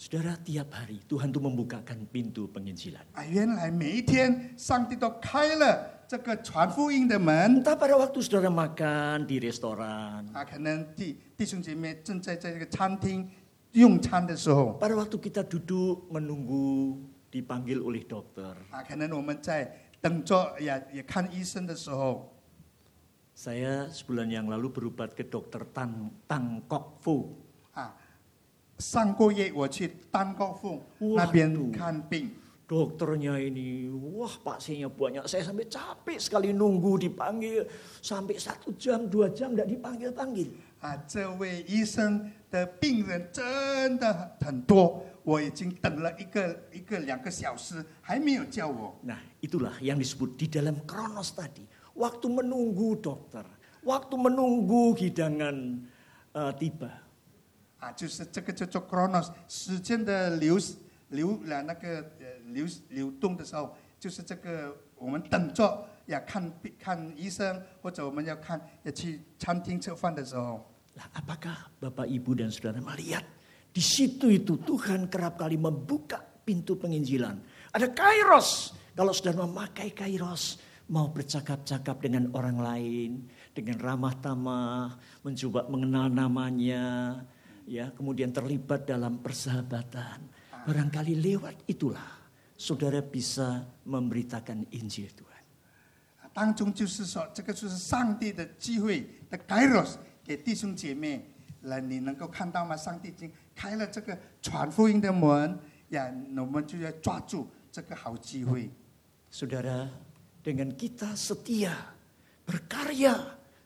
Speaker 2: Saudara, tiap hari Tuhan tuh membukakan pintu penginjilan.
Speaker 1: 啊，原来每一天上帝都开了这个传福音的门
Speaker 2: Entah pada waktu saudara makan di restoran,
Speaker 1: 啊，可能弟弟兄姐妹正在在这个餐厅用餐的时候。
Speaker 2: pada waktu kita duduk menunggu dipanggil oleh dokter,
Speaker 1: 啊，可能我们在等着也也看医生的时候，
Speaker 2: Saya sebulan yang lalu berobat ke dokter Tan Tang Kok Fu.
Speaker 1: 啊，上个月我去丹高凤
Speaker 2: 哇
Speaker 1: 那边看病，
Speaker 2: Dokternya ini, wah pasiennya banyak. Saya sampai capek sekali nunggu dipanggil. Sampai satu jam, dua jam tidak dipanggil-panggil.
Speaker 1: 啊，这位医生的病人真的很多，我已经等了一个一个两个小时，还没有叫我。
Speaker 2: Nah itulah yang disebut di dalam kronos tadi. Waktu menunggu dokter, waktu menunggu hidangan eh, tiba.
Speaker 1: 啊，就是这个叫做 chronos 时间的流流了那个呃流流动的时候，就是这个我们等着要看病看医生，或者我们要看要去餐厅吃饭的时候，
Speaker 2: Nah, apakah Bapak, Ibu, dan Saudara melihat di situ itu Tuhan kerap kali membuka pintu penginjilan. Ada kairos. Kalau Saudara memakai kairos, mau bercakap-cakap dengan orang lain, dengan ramah tamah, mencoba mengenal namanya, ya, kemudian terlibat dalam persahabatan. Barangkali lewat itulah Saudara bisa memberitakan Injil Tuhan.
Speaker 1: 啊当中就是说这个就是上帝的机会的 kairos 给弟兄姐妹来，你能够看到吗？上帝已经开了这个传福音的门呀，我们就要抓住这个好机会。
Speaker 2: Saudara, dengan kita setia, berkarya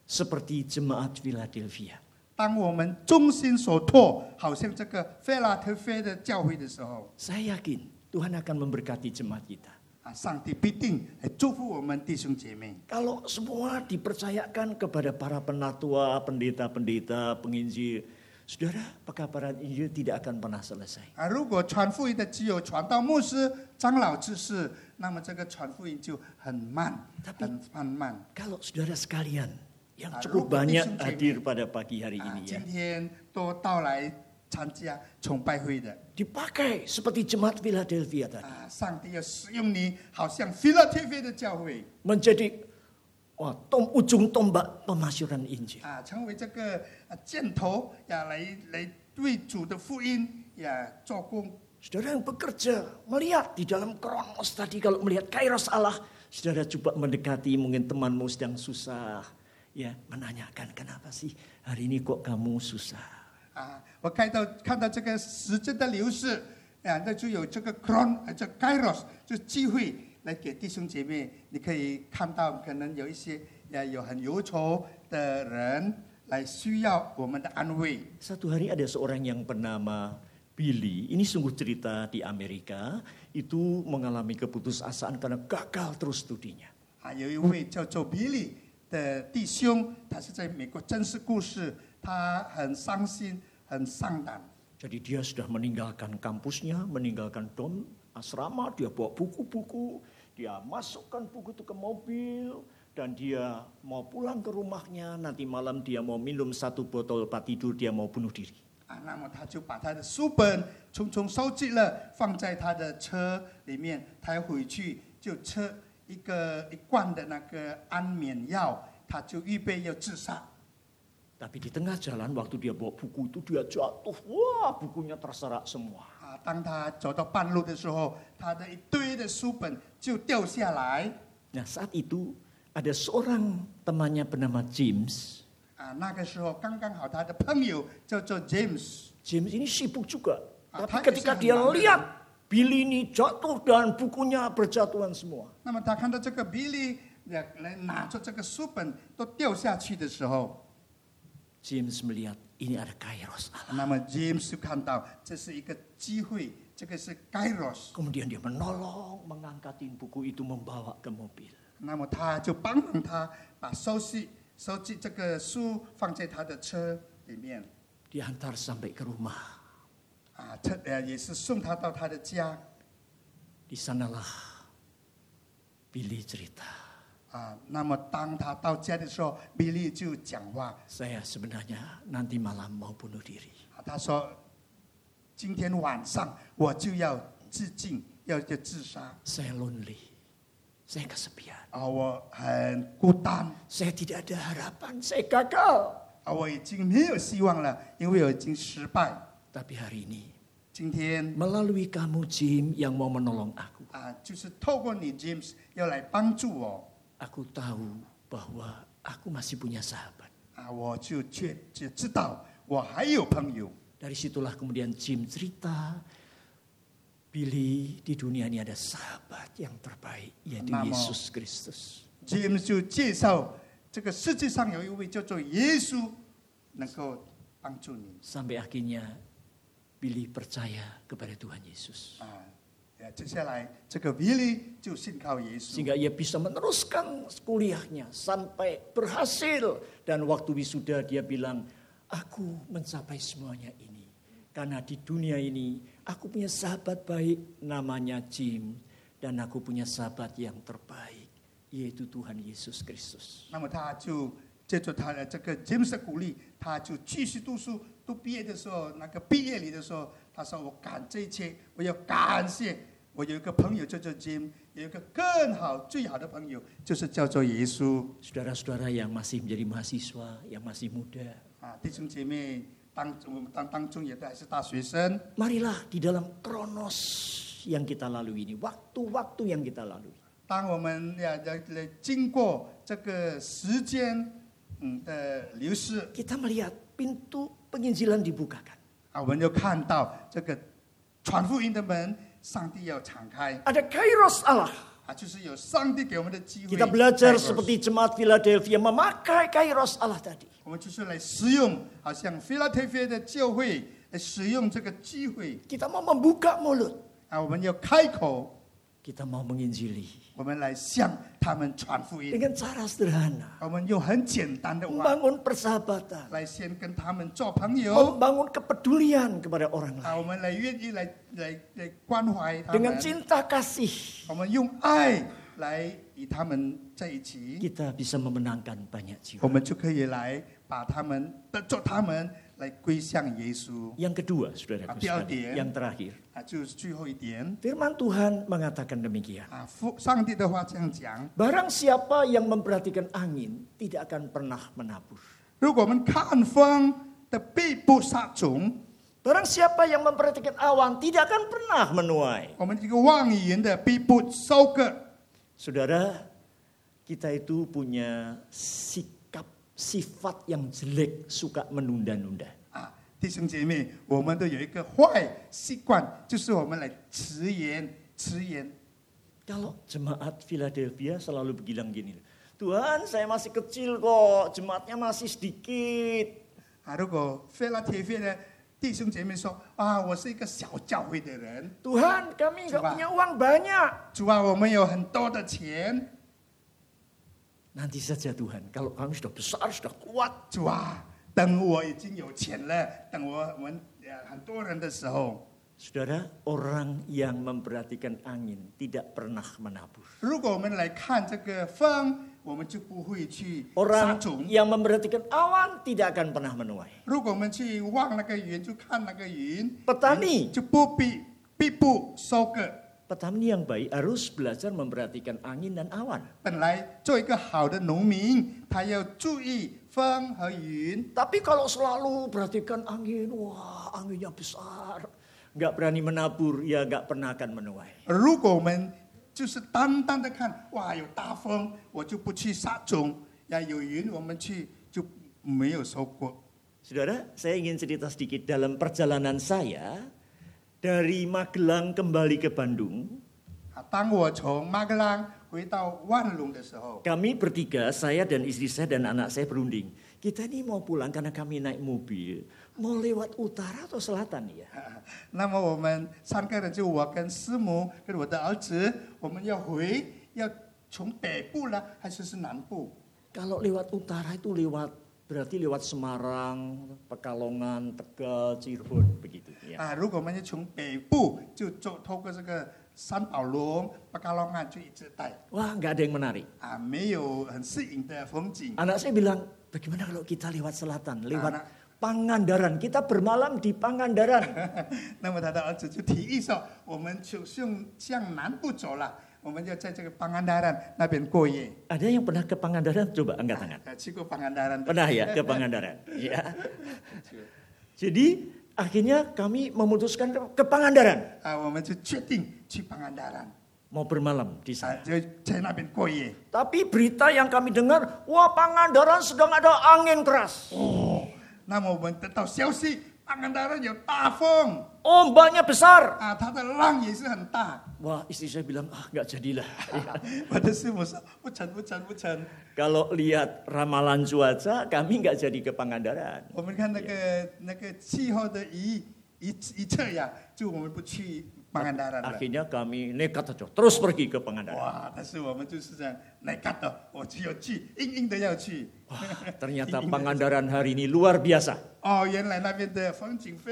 Speaker 2: seperti jemaat Philadelphia.
Speaker 1: 当我们忠心所托，好像这个费拉特菲的教会的时候，
Speaker 2: Saya yakin Tuhan akan memberkati jemaat kita.
Speaker 1: 啊，上帝必定来祝福我们弟兄姐妹。
Speaker 2: Kalau semua dipercayakan kepada para penatua, pendeta-pendeta, penginjil, saudara, pekabaran Injil tidak akan pernah selesai.
Speaker 1: 啊，如果传福音的只有传道牧师、长老之事，那么这个传福音就很慢，很缓慢。
Speaker 2: Kalau saudara sekalian yang
Speaker 1: Ah, Rupa
Speaker 2: cukup banyak
Speaker 1: Kristen
Speaker 2: hadir pada pagi hari
Speaker 1: 啊
Speaker 2: ini，ya,
Speaker 1: 今天都到来参加崇拜会的
Speaker 2: dipakai seperti jemaat Philadelphia tadi.
Speaker 1: 啊，上帝要使用你，好像费拉特菲的教会
Speaker 2: menjadi wah, tom, ujung tombak pemasyuran Injil.
Speaker 1: 啊，成为这个啊箭头呀，来来为主的福音呀做工。
Speaker 2: Saudara yang bekerja melihat di dalam kronos tadi kalau melihat kairos Allah, saudara coba mendekati mungkin temanmu sedang susah, ya menanyakan kenapa sih hari ini kok kamu susah.
Speaker 1: 啊，我看到看到这个时间的流逝，啊，那就有这个 chron，呃这 kairos，就机会来给弟兄姐妹，你可以看到可能有一些呃有很忧愁的人来需要我们的安慰。
Speaker 2: Satu hari ada seorang yang bernama Billy, ini sungguh cerita di Amerika, itu mengalami keputusasaan karena gagal terus studinya.
Speaker 1: 啊，有一位叫做比利的弟兄，他是在美国真实故事，他很伤心，很丧胆。
Speaker 2: Jadi dia sudah meninggalkan kampusnya, meninggalkan dom, asrama, dia bawa buku-buku, Dia masukkan buku itu ke mobil dan dia mau pulang ke rumahnya. Nanti malam dia mau minum satu botol pas tidur dia mau bunuh diri.
Speaker 1: 啊，那么他就把他的书本匆匆收集了，放在他的车里面。他回去就吃一个一罐的那个安眠药，他就预备要自杀。
Speaker 2: Tapi di tengah jalan waktu dia bawa buku itu dia jatuh. Wah bukunya terserak semua.
Speaker 1: 啊，当他走到半路的时候，他的一堆的书本就掉下来。
Speaker 2: Nah saat itu ada seorang temannya bernama James.
Speaker 1: 啊，那个时候刚刚好，他的朋友叫做 James，
Speaker 2: James ini sibuk juga.
Speaker 1: Ah,
Speaker 2: Tapi
Speaker 1: tak
Speaker 2: ketika
Speaker 1: kisah
Speaker 2: dia
Speaker 1: mana.
Speaker 2: lihat Billy ini jatuh dan bukunya berjatuhan semua.
Speaker 1: 那么他看到这个 Billy 来来拿着这个书本都掉下去的时候，
Speaker 2: James melihat ini ada kairos Allah.
Speaker 1: 那么 James 就看到这是一个机会，这个是 Kairos，
Speaker 2: Kemudian dia menolong mengangkatin buku itu membawa ke mobil.
Speaker 1: 那么他就帮忙他把收集收集这个书放在他的车里面，
Speaker 2: Diantar sampai ke rumah.
Speaker 1: 啊，特呃也是送他到他的家，
Speaker 2: Di sanalah Billy cerita.
Speaker 1: 啊，那么当他到家的时候，Billy 就讲话，
Speaker 2: Saya sebenarnya nanti malam mau bunuh diri.
Speaker 1: 啊他说今天晚上我就要自尽，要要自杀，
Speaker 2: Saya lonely. Saya kesepian.
Speaker 1: 啊，我很孤单，
Speaker 2: Saya tidak ada harapan. Saya gagal.
Speaker 1: 啊，我已经没有希望了，因为我已经失败。
Speaker 2: Tapi hari ini
Speaker 1: 今天
Speaker 2: melalui kamu Jim yang mau menolong aku.
Speaker 1: 啊，就是透过你 James 要来帮助我，
Speaker 2: Aku tahu bahwa aku masih punya sahabat.
Speaker 1: 啊，我就确就知道我还有朋友。
Speaker 2: Dari situlah kemudian Jim cerita Billy di dunia ini ada sahabat yang terbaik yaitu
Speaker 1: Namo.
Speaker 2: Yesus Kristus.
Speaker 1: James 就介绍这个世界上有一位叫做耶稣，能够帮助你
Speaker 2: Sampai akhirnya Billy percaya kepada Tuhan Yesus.
Speaker 1: 啊。呃接下来这个 Billy 就信靠耶稣
Speaker 2: Sehingga ia bisa meneruskan kuliahnya sampai berhasil. Dan waktu wisuda dia bilang, aku mencapai semuanya ini. Karena di dunia ini aku punya sahabat baik namanya Jim. Dan aku punya sahabat yang terbaik yaitu Tuhan Yesus Kristus.
Speaker 1: 那么他就借助他的这个 James 的鼓励，他就继续读书。读毕业的时候，那个毕业礼的时候，他说：“我感这一切，我要感谢我有一个朋友叫做 Jim，有一个更好、最好的朋友，就是叫做耶稣
Speaker 2: Saudara-saudara yang masih menjadi mahasiswa, yang masih muda.
Speaker 1: 啊。”弟兄姐妹，当我们当当中也都还是大学生，
Speaker 2: Marilah di dalam kronos yang kita lalui ini. Waktu-waktu yang kita lalui.
Speaker 1: 当我们要要来经过这个时间嗯的流逝
Speaker 2: Kita melihat pintu penginjilan dibukakan.
Speaker 1: 啊，我们就看到这个传福音的门，上帝要敞开
Speaker 2: Ada kairos Allah.
Speaker 1: 啊，就是有上帝给我们的机会。
Speaker 2: Kita belajar
Speaker 1: 开始
Speaker 2: seperti jemaat Philadelphia memakai kairos Allah tadi.
Speaker 1: 我们就是来使用，啊好像 Philadelphia 的教会来使用这个机会
Speaker 2: Kita mau membuka mulut.
Speaker 1: 啊，我们要开口，
Speaker 2: Kita mau menginjili.
Speaker 1: 我们来向他们传福音，
Speaker 2: Dengan cara sederhana.
Speaker 1: 我们用很简单的话
Speaker 2: Membangun persahabatan.
Speaker 1: 来先跟他们做朋友
Speaker 2: Membangun kepedulian kepada orang
Speaker 1: 啊，
Speaker 2: lain.
Speaker 1: 我们来愿意来来来关怀他们。
Speaker 2: Dengan cinta kasih.
Speaker 1: 我们用爱来与他们在一起，
Speaker 2: Kita bisa memenangkan banyak jiwa.
Speaker 1: 我们就可以来把他们得做他们来归向耶稣
Speaker 2: Yang kedua, saudara
Speaker 1: Tapi Aldi, ya.
Speaker 2: Yang terakhir.
Speaker 1: 啊，就是最后一点
Speaker 2: Firman Tuhan mengatakan demikian.
Speaker 1: 啊，父上帝的话这样讲：
Speaker 2: Barang siapa yang memperhatikan angin tidak akan pernah menabur.
Speaker 1: 如果我们看风的必不杀虫，
Speaker 2: Barang siapa yang memperhatikan awan tidak akan pernah menuai.
Speaker 1: 我们这个望言的必不收割。
Speaker 2: Saudara, kita itu punya sikap, sifat yang jelek, suka menunda-nunda.
Speaker 1: 啊，弟兄姐妹，我们都有一个坏习惯，就是我们来迟延、迟延
Speaker 2: Kalau jemaat Philadelphia selalu bilang gini, Tuhan saya masih kecil kok, jemaatnya masih sedikit.
Speaker 1: 啊。如果飞了铁飞呢，弟兄姐妹说啊，我是一个小教会的人，
Speaker 2: Tuhan kami nggak
Speaker 1: Coba.
Speaker 2: punya uang banyak.
Speaker 1: 主啊，我们有很多的钱，
Speaker 2: Nanti saja Tuhan, kalau kami sudah besar, sudah kuat,
Speaker 1: 主啊，等我已经有钱了，等我我们呃很多人的时候，
Speaker 2: Saudara, orang yang memperhatikan angin tidak pernah menabur.
Speaker 1: 如果我们来看这个风，我们就不会去杀
Speaker 2: Orang
Speaker 1: 虫；
Speaker 2: yang memperhatikan awan tidak akan pernah menuai.
Speaker 1: 如果我们去望那个云，就看那个云，
Speaker 2: Petani,
Speaker 1: 就不必必不收割。
Speaker 2: petani yang baik harus belajar memperhatikan angin dan awan.
Speaker 1: 本来做一个好的农民，他要注意风和云。
Speaker 2: Tapi kalau selalu perhatikan angin, wah anginnya besar, nggak berani menabur, ya nggak pernah akan menuai.
Speaker 1: 如果我们就是单单的看，哇，有大风，我就不去撒种；呀，有云，我们去就没有收获。
Speaker 2: Saudara, saya ingin cerita sedikit dalam perjalanan saya dari Magelang kembali ke Bandung.
Speaker 1: 啊，当我从马格朗回到万隆的时候，
Speaker 2: Kami bertiga, saya dan istri saya dan anak saya berunding. Kita ini mau pulang karena kami naik mobil. Mau lewat utara atau selatan ya?
Speaker 1: 那么我们三个人就我跟师母跟我的儿子，我们要回要从北部呢，还是是南部？
Speaker 2: Kalau lewat utara itu lewat berarti lewat Semarang, Pekalongan, Tegal, Cirebon begitu ya.
Speaker 1: 啊，如果我们要从北部就走透过这个三宝龙、巴嘎隆啊岸就一直带
Speaker 2: Wah, nggak ada yang menarik.
Speaker 1: 啊，没有很适应的风景。
Speaker 2: Anak saya bilang, bagaimana kalau kita lewat selatan, lewat
Speaker 1: Anak-
Speaker 2: Pangandaran. Kita bermalam di Pangandaran.
Speaker 1: 那么他的儿子就提议说，我们就向向南部走了，我们要在这个邦安达兰那边过夜。
Speaker 2: ada yang pernah ke Pangandaran? Coba angkat tangan.
Speaker 1: 啊，去过邦安达兰的
Speaker 2: Pernah ya ke Pangandaran? Ya. Jadi akhirnya kami memutuskan ke Pangandaran.
Speaker 1: 啊，我们就确定去邦安达兰，
Speaker 2: Mau bermalam di
Speaker 1: 啊
Speaker 2: sana.，
Speaker 1: 就在那边过夜。
Speaker 2: Tapi berita yang kami dengar, wah Pangandaran sedang ada angin keras.
Speaker 1: 那么我们得到消息，邦安达兰有大风
Speaker 2: Ombaknya besar.
Speaker 1: 啊，它的浪也是很大。
Speaker 2: Wah istri saya bilang, ah nggak jadilah. Ya.
Speaker 1: 我的师母说，不成，不成，不成。
Speaker 2: Kalau lihat ramalan cuaca, kami nggak jadi ke Pangandaran.
Speaker 1: 我们看那个那个气候的一一一测呀，就我们不去巴干达兰了。
Speaker 2: Akhirnya kami nekat aja, terus pergi ke Pangandaran.
Speaker 1: 哇！但是我们就是这样来干的，我就要去，硬硬的要去。
Speaker 2: Ternyata Pangandaran hari ini luar biasa.
Speaker 1: 哦，原来那边的风景非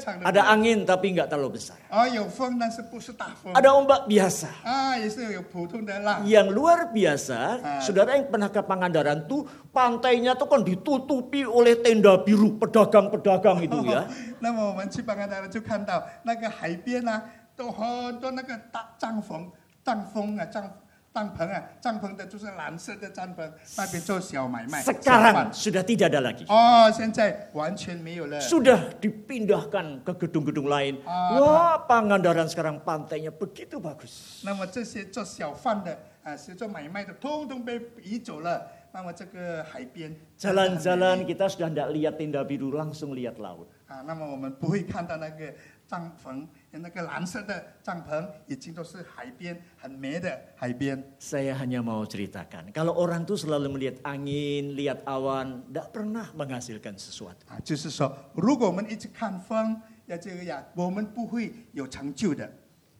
Speaker 1: 常的
Speaker 2: Ada angin tapi nggak terlalu besar.
Speaker 1: 哦，有风，但是不是大风
Speaker 2: Ada ombak biasa.
Speaker 1: 啊，也是有普通的浪。
Speaker 2: Yang luar biasa,
Speaker 1: Ah.
Speaker 2: saudara yang pernah ke Pangandaran tuh pantainya tuh kan ditutupi oleh tenda biru pedagang-pedagang itu ya.
Speaker 1: 那么我们去巴干达兰就看到那个海边啊，都很多那个大帐篷、帐篷啊、帐帐篷啊，帐篷的就是蓝色的帐篷，那边做小买卖。小贩
Speaker 2: Sekarang sudah tidak ada lagi.
Speaker 1: 哦，现在完全没有了。
Speaker 2: Sudah dipindahkan ke gedung-gedung lain.
Speaker 1: Ah.
Speaker 2: Wah, Pangandaran sekarang pantainya begitu bagus.
Speaker 1: 那么这些做小贩的啊，是做买卖的，通通被移走了。那么这个海边
Speaker 2: Jalan-jalan kita sudah tidak lihat tenda biru, langsung lihat laut.
Speaker 1: 啊，那么我们不会看到那个帐篷，那个蓝色的帐篷已经都是海边很美的海边。
Speaker 2: Saya hanya mau ceritakan, kalau orang tuh selalu melihat angin, lihat awan, tidak pernah menghasilkan sesuatu.
Speaker 1: 啊，就是说，如果我们一直看风，要这个呀，我们不会有成就的。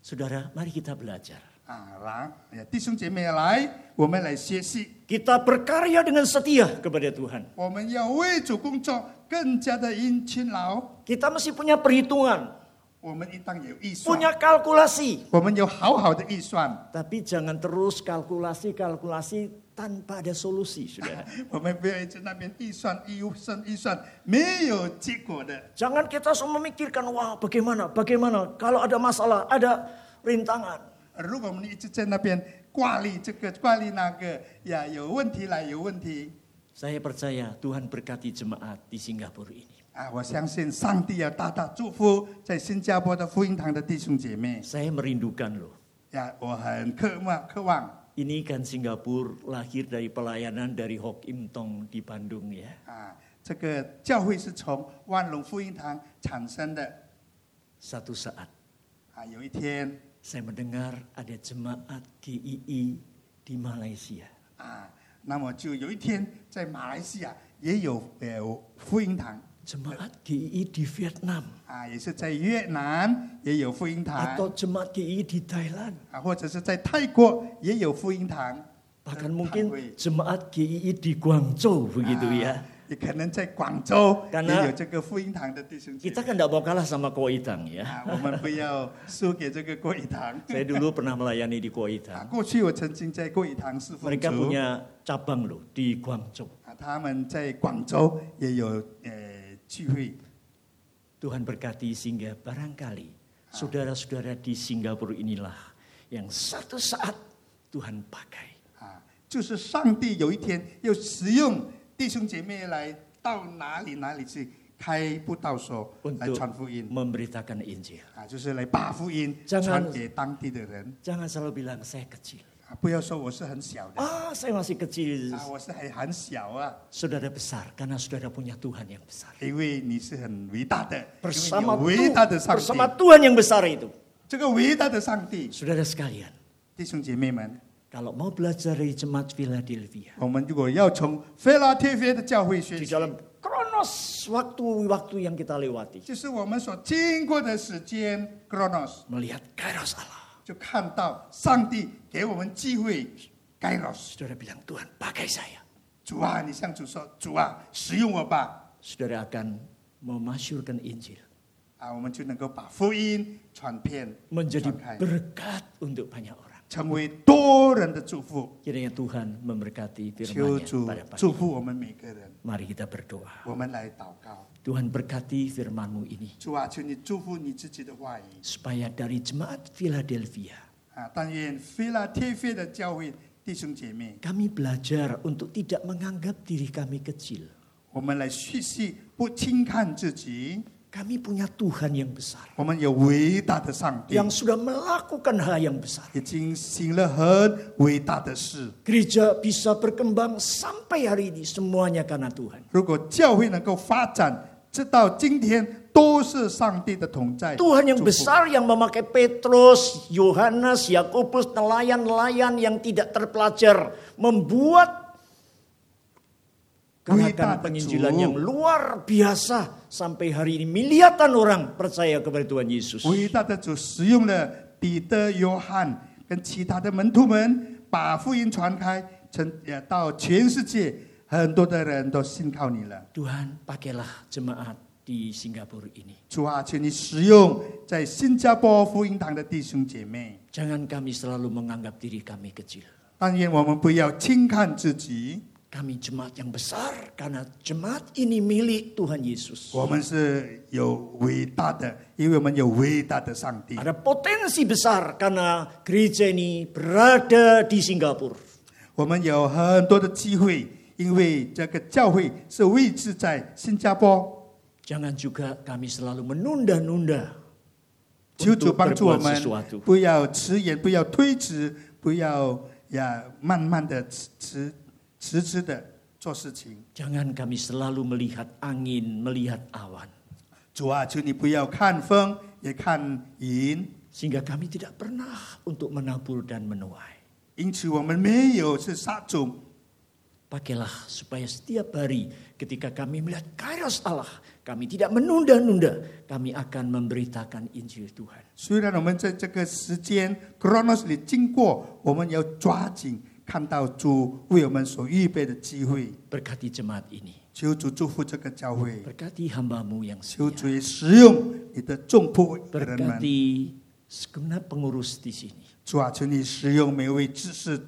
Speaker 2: Saudara, mari kita belajar.
Speaker 1: 啊，来，呀弟兄姐妹来，我们来学习，
Speaker 2: Kita berkarya dengan setia kepada Tuhan.
Speaker 1: 我们要为主工作，更加的殷勤劳。
Speaker 2: Kita mesti punya perhitungan,
Speaker 1: 我们应当有预算，
Speaker 2: punya kalkulasi.
Speaker 1: 我们有好好的预算，
Speaker 2: Tapi jangan terus kalkulasi-kalkulasi tanpa ada solusi, saudara.
Speaker 1: 我们不要一直那边预算、预算、预算，没有结果的。
Speaker 2: jangan kita semua memikirkan, wah bagaimana, bagaimana. Kalau ada masalah, ada rintangan.
Speaker 1: 如果我们一直在那边挂虑这个、挂虑那个，呀，有问题来，有问题
Speaker 2: Saya percaya Tuhan berkati jemaat di Singapura ini.
Speaker 1: 啊！我相信上帝要啊大大祝福在新加坡的福音堂的弟兄姐妹
Speaker 2: Saya merindukan loh.
Speaker 1: 呀！我很渴望、渴望
Speaker 2: Ini kan Singapura lahir dari pelayanan dari Hok Im Tong di Bandung ya.
Speaker 1: 啊！这个教会是从万隆福音堂产生的
Speaker 2: Satu saat
Speaker 1: 啊！有一天
Speaker 2: Saya mendengar ada jemaat GII di Malaysia.
Speaker 1: 啊，那么就有一天在马来西亚也有呃福音堂
Speaker 2: Jemaat GII di Vietnam
Speaker 1: 啊，也是在越南也有福音堂
Speaker 2: atau jemaat GII di Thailand.
Speaker 1: 啊，或者是在泰国也有福音堂，
Speaker 2: Bahkan
Speaker 1: Thailand.
Speaker 2: mungkin jemaat GII di Guangzhou begitu
Speaker 1: 啊
Speaker 2: ya.
Speaker 1: 也可能在广州
Speaker 2: Karena-
Speaker 1: 也有这个福音堂的弟兄姐
Speaker 2: Kita
Speaker 1: 妹
Speaker 2: kan tidak mau kalah sama Koitang ya.
Speaker 1: 啊，我们不要输给这个过一堂
Speaker 2: Saya dulu pernah melayani di
Speaker 1: 啊。
Speaker 2: Koitang.
Speaker 1: 过去我曾经在过一堂侍奉
Speaker 2: Mereka
Speaker 1: 主
Speaker 2: punya cabang loh di Guangzhou.
Speaker 1: 啊，他们在广州也有呃聚会
Speaker 2: Tuhan berkati sehingga barangkali saudara-saudara di Singapura inilah yang satu saat Tuhan pakai.
Speaker 1: 啊，就是上帝有一天要使用弟兄姐妹来到哪里哪里去开布道所来
Speaker 2: Untuk-
Speaker 1: 传福音
Speaker 2: memberitakan Injil.
Speaker 1: 啊，就是来把福音
Speaker 2: 将安
Speaker 1: 传给当地的人
Speaker 2: Jangan selalu bilang saya kecil.
Speaker 1: 啊，不要说我是很小的
Speaker 2: Ah, saya masih kecil.
Speaker 1: 啊，我啊是还很小啊。
Speaker 2: Saudara besar karena saudara punya Tuhan yang besar.
Speaker 1: 因为你是很伟大的，因为你有
Speaker 2: Bersama
Speaker 1: 伟
Speaker 2: Tuhan,
Speaker 1: 大的上
Speaker 2: bersama
Speaker 1: 帝，
Speaker 2: Tuhan yang besar itu.
Speaker 1: 这个伟大的上帝，
Speaker 2: Saudara sekalian,
Speaker 1: 弟兄姐妹们，
Speaker 2: kalau mau belajar dari jemaat Philadelphia
Speaker 1: 我们如果要从菲拉铁菲的教会学
Speaker 2: di
Speaker 1: 习，
Speaker 2: dalam kronos waktu-waktu yang kita lewati
Speaker 1: 就是我们所经过的时间 （chronos），
Speaker 2: melihat kairos Allah.
Speaker 1: 就看到上帝给我们机会 （kairos）。
Speaker 2: Saudara bilang Tuhan pakai saya.
Speaker 1: 主啊，你向主说：“主啊，使用我吧！”
Speaker 2: Saudara akan memasyurkan Injil
Speaker 1: 啊，我们就能够把福音传遍、
Speaker 2: menjadi
Speaker 1: 传开，
Speaker 2: berkat untuk banyak orang.
Speaker 1: 成为多人的祝福。
Speaker 2: Kiranya Tuhan memberkati
Speaker 1: 求
Speaker 2: firman-Nya
Speaker 1: 主
Speaker 2: pada pagi.
Speaker 1: 祝福我们每个人。
Speaker 2: Mari kita berdoa.
Speaker 1: 我们来祷告。
Speaker 2: Tuhan berkati firman-Mu ini.
Speaker 1: 主啊，求你祝福你自己的话语
Speaker 2: Supaya dari jemaat Philadelphia
Speaker 1: 啊！但愿菲拉铁菲的教会弟兄姐妹，
Speaker 2: kami belajar untuk tidak menganggap diri kami kecil.
Speaker 1: 我们来学习不轻看自己，
Speaker 2: Kami punya Tuhan yang besar.
Speaker 1: 我们有伟大的上帝，
Speaker 2: Yang sudah melakukan hal yang besar.
Speaker 1: 已经行了很伟大的事。
Speaker 2: Gereja bisa berkembang sampai hari ini semuanya karena Tuhan.
Speaker 1: 如果教会能够发展，直到今天都是上帝的同在。
Speaker 2: Tuhan yang
Speaker 1: 祝福
Speaker 2: besar yang memakai Petrus, Yohanes, Yakobus, nelayan-nelayan yang tidak terpelajar membuat
Speaker 1: Berita
Speaker 2: gerakan
Speaker 1: itu.
Speaker 2: penginjilan yang luar biasa sampai hari ini miliatan orang percaya kepada Tuhan Yesus.
Speaker 1: 伟大的主使用了彼得、约翰跟其他的门徒们，把福音传开，成也到全世界，很多的人都信靠你了。
Speaker 2: Tuhan, pakailah jemaat di Singapura ini.
Speaker 1: 主啊，求你使用在新加坡福音堂的弟兄姐妹，
Speaker 2: Jangan kami selalu menganggap diri kami kecil.
Speaker 1: 但愿我们不要轻看自己，
Speaker 2: Kami jemaat yang besar karena jemaat ini milik Tuhan Yesus.
Speaker 1: 我们是有伟大的，因为我们有伟大的上帝，
Speaker 2: Ada potensi besar karena gereja ini berada di Singapura.
Speaker 1: 我们有很多的机会，因为这个教会是位置在新加坡。
Speaker 2: Jangan juga kami selalu menunda-nunda
Speaker 1: 求主
Speaker 2: untuk
Speaker 1: 帮助我啊
Speaker 2: berbuat
Speaker 1: 们，
Speaker 2: sesuatu.
Speaker 1: 不要迟延，不要推迟，不要呀，慢慢的迟迟迟迟的做事情。
Speaker 2: Jangan kami selalu melihat angin, melihat awan.
Speaker 1: 主啊，求你不要看风也看云。
Speaker 2: Sehingga kami tidak pernah untuk menabur dan menuai.
Speaker 1: 因此，我们没有是撒种，
Speaker 2: Pakailah supaya setiap hari ketika kami melihat kairos Allah, kami tidak menunda-nunda, kami akan memberitakan Injil Tuhan.
Speaker 1: 虽然我们在这个时间 chronos 里经过，我们要抓紧看到主为我们所预备的机会。
Speaker 2: Berkati jemaat ini,
Speaker 1: 求主祝福这个教会，
Speaker 2: berkati hambamu yang
Speaker 1: 求
Speaker 2: setia,
Speaker 1: 主也使用你的众仆人们。
Speaker 2: berkati segenap pengurus di sini,
Speaker 1: 主啊，求你使用每位知识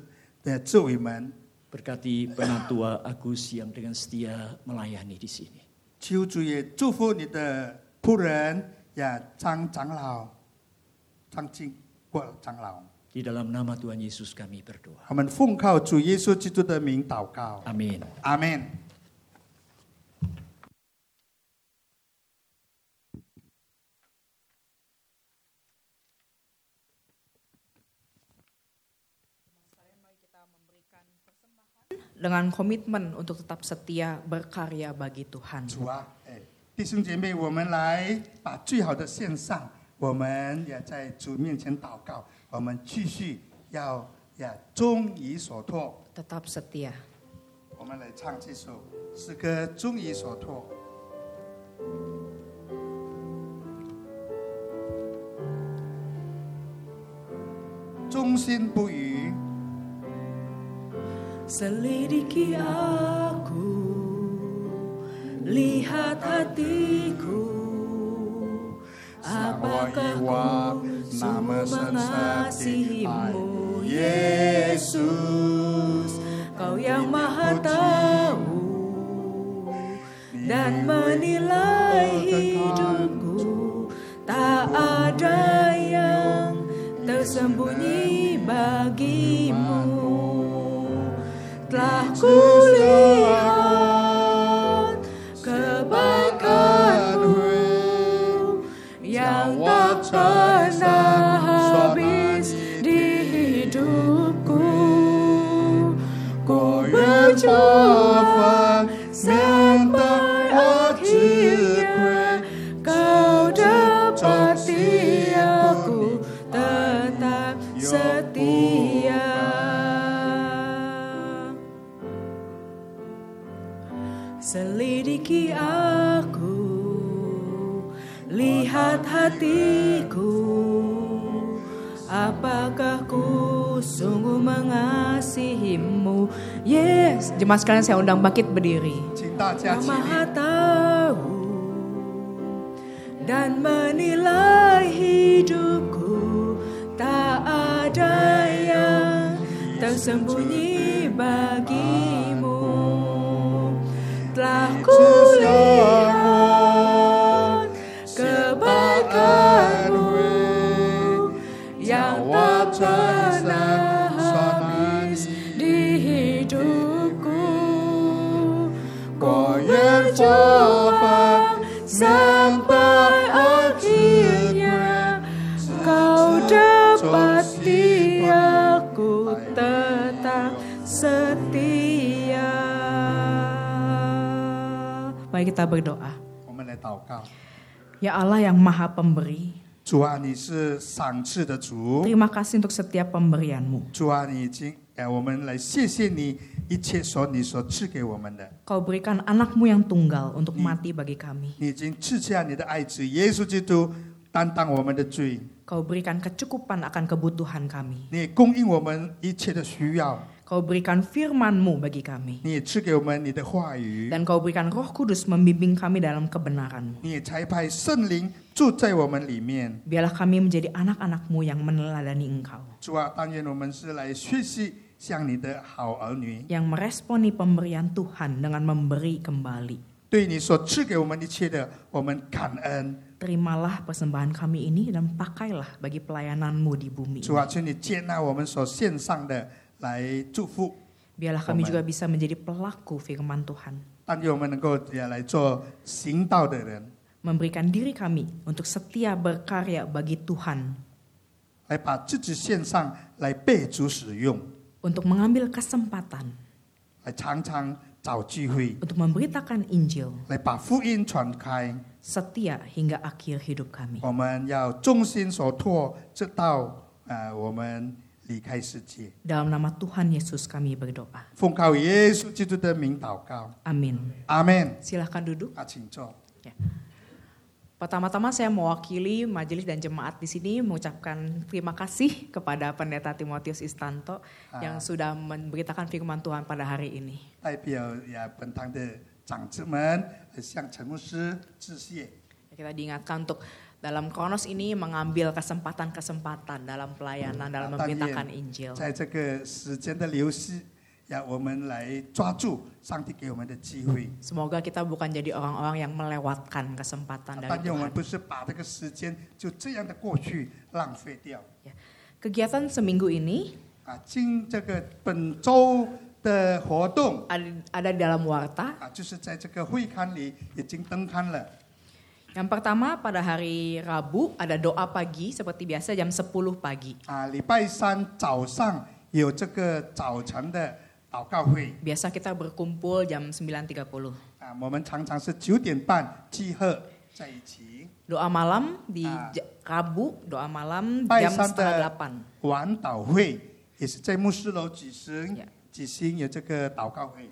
Speaker 1: 的智伟们。
Speaker 2: berkati penatua Agus yang dengan setia melayani di sini.
Speaker 1: 求主也祝福你的仆人呀，张长老、张经过长老。
Speaker 2: Di dalam nama Tuhan Yesus kami berdoa.
Speaker 1: 我们奉靠主耶稣基督的名祷告，
Speaker 2: Amin.
Speaker 1: 阿门。
Speaker 3: dengan komitmen untuk tetap setia berkarya bagi Tuhan.
Speaker 1: 主啊，哎，弟兄姐妹，我们来把最好的献上，我们也在主面前祷告，我们继续要呀忠于所托，
Speaker 3: Tetap setia.
Speaker 1: 我们来唱这首诗歌《忠于所托》。忠心不渝，
Speaker 3: Selidiki aku
Speaker 4: Lihat hatiku, apakah ku sungguh mengasihimu, Yesus? Kau yang maha tahu dan menilai hidupku, tak ada yang tersembunyi bagimu telah kulihat kebaikanmu yang tak pernah habis di hidupku ku mencoba sampai akhirnya kau dapati aku tetap setia Selidiki aku, lihat hatiku. Apakah ku sungguh mengasihimu? Yes,
Speaker 3: Jemaah sekalian saya undang bangkit berdiri.
Speaker 1: 请大家
Speaker 4: Yang
Speaker 1: 起
Speaker 4: Maha
Speaker 1: 立，
Speaker 4: Tahu dan menilai hidupku tak ada yang tersembunyi bagimu telah kulihat kebaikanmu yang tak pernah habis di hidupku Kau mencoba sampai akhirnya kau dapati aku tetap setia.
Speaker 3: Mari kita berdoa.
Speaker 1: 我们来祷告。
Speaker 3: Ya Allah yang maha pemberi,
Speaker 1: 主啊，你是赏赐的主，
Speaker 3: terima kasih untuk setiap pemberianmu.
Speaker 1: 主啊，你已经，哎、我们来谢谢你一切所你所赐给我们的，
Speaker 3: Kau berikan anakmu yang tunggal untuk mati bagi kami.
Speaker 1: 你已经赐下你的爱子耶稣基督担当我们的罪，
Speaker 3: Kau berikan kecukupan akan kebutuhan kami.
Speaker 1: 你供应我们一切的需要，
Speaker 3: Kau berikan firmanmu bagi kami.
Speaker 1: 你也赐给我们你的话语，
Speaker 3: Dan kau berikan roh kudus membimbing kami dalam kebenaranmu.
Speaker 1: 你也差派圣灵住在我们里面。
Speaker 3: Biarlah kami menjadi anak-anakmu yang meneladani engkau.
Speaker 1: 主啊，但愿我们是来学习像你的好儿女，
Speaker 3: Yang meresponi pemberian Tuhan dengan memberi kembali.
Speaker 1: 对你所赐给我们一切的，我们感恩。
Speaker 3: Terimalah persembahan kami ini dan pakailah bagi pelayananmu di bumi.
Speaker 1: 主啊，求你接纳我们所献上的来祝福，
Speaker 3: Biarlah kami
Speaker 1: Amen.
Speaker 3: juga bisa menjadi pelaku firman Tuhan.
Speaker 1: 但愿我们能够也来做行道的人，
Speaker 3: Memberikan diri kami untuk setia berkarya bagi Tuhan.
Speaker 1: 来把自己献上来备足使用，
Speaker 3: Untuk mengambil kesempatan
Speaker 1: 来常常找聚会，
Speaker 3: untuk memberitakan Injil.
Speaker 1: 来把福音传开。
Speaker 3: Setia hingga akhir hidup kami.
Speaker 1: 我们要忠心所托，直到呃我们离开世界。
Speaker 3: Dalam nama Tuhan Yesus kami berdoa.
Speaker 1: 奉靠耶稣基督的名祷告，
Speaker 3: Amin.
Speaker 1: 阿门。
Speaker 3: Silahkan duduk.
Speaker 1: 啊，请坐。
Speaker 3: Pertama-tama saya mewakili majelis dan jemaat di sini mengucapkan terima kasih kepada Pendeta Timotius Istanto yang sudah memberitakan firman Tuhan pada hari ini.
Speaker 1: 代表呀本堂的长子们呃向陈牧师致谢。
Speaker 3: Kita diingatkan untuk dalam Kronos ini mengambil kesempatan-kesempatan dalam pelayanan, dalam
Speaker 1: Tanya.
Speaker 3: memberitakan Injil.
Speaker 1: 在这个时间的流逝，呀，我们来抓住上帝给我们的机会。
Speaker 3: Semoga kita bukan jadi orang-orang yang melewatkan kesempatan dari
Speaker 1: 但愿我
Speaker 3: Tuhan.
Speaker 1: 们不是把这个时间就这样的过去浪费掉。
Speaker 3: Ya. Kegiatan seminggu ini
Speaker 1: 啊，经这个本周的活动
Speaker 3: ada- ada dalam warta.
Speaker 1: 啊，就是在这个会刊里已经登刊了。
Speaker 3: Yang pertama pada hari Rabu ada doa pagi seperti biasa jam 10 pagi.
Speaker 1: 啊，礼拜三早上有这个早晨的祷告会
Speaker 3: Biasa kita berkumpul jam 9.30.
Speaker 1: 啊，我们常常是九点半集合在一起。
Speaker 3: Doa malam di
Speaker 1: Ah.
Speaker 3: ja- Rabu, doa malam
Speaker 1: Baik,
Speaker 3: jam
Speaker 1: Santa.
Speaker 3: setengah delapan.
Speaker 1: 晚祷会也是在牧师楼举行
Speaker 3: Yeah.
Speaker 1: 举行有这个祷告会。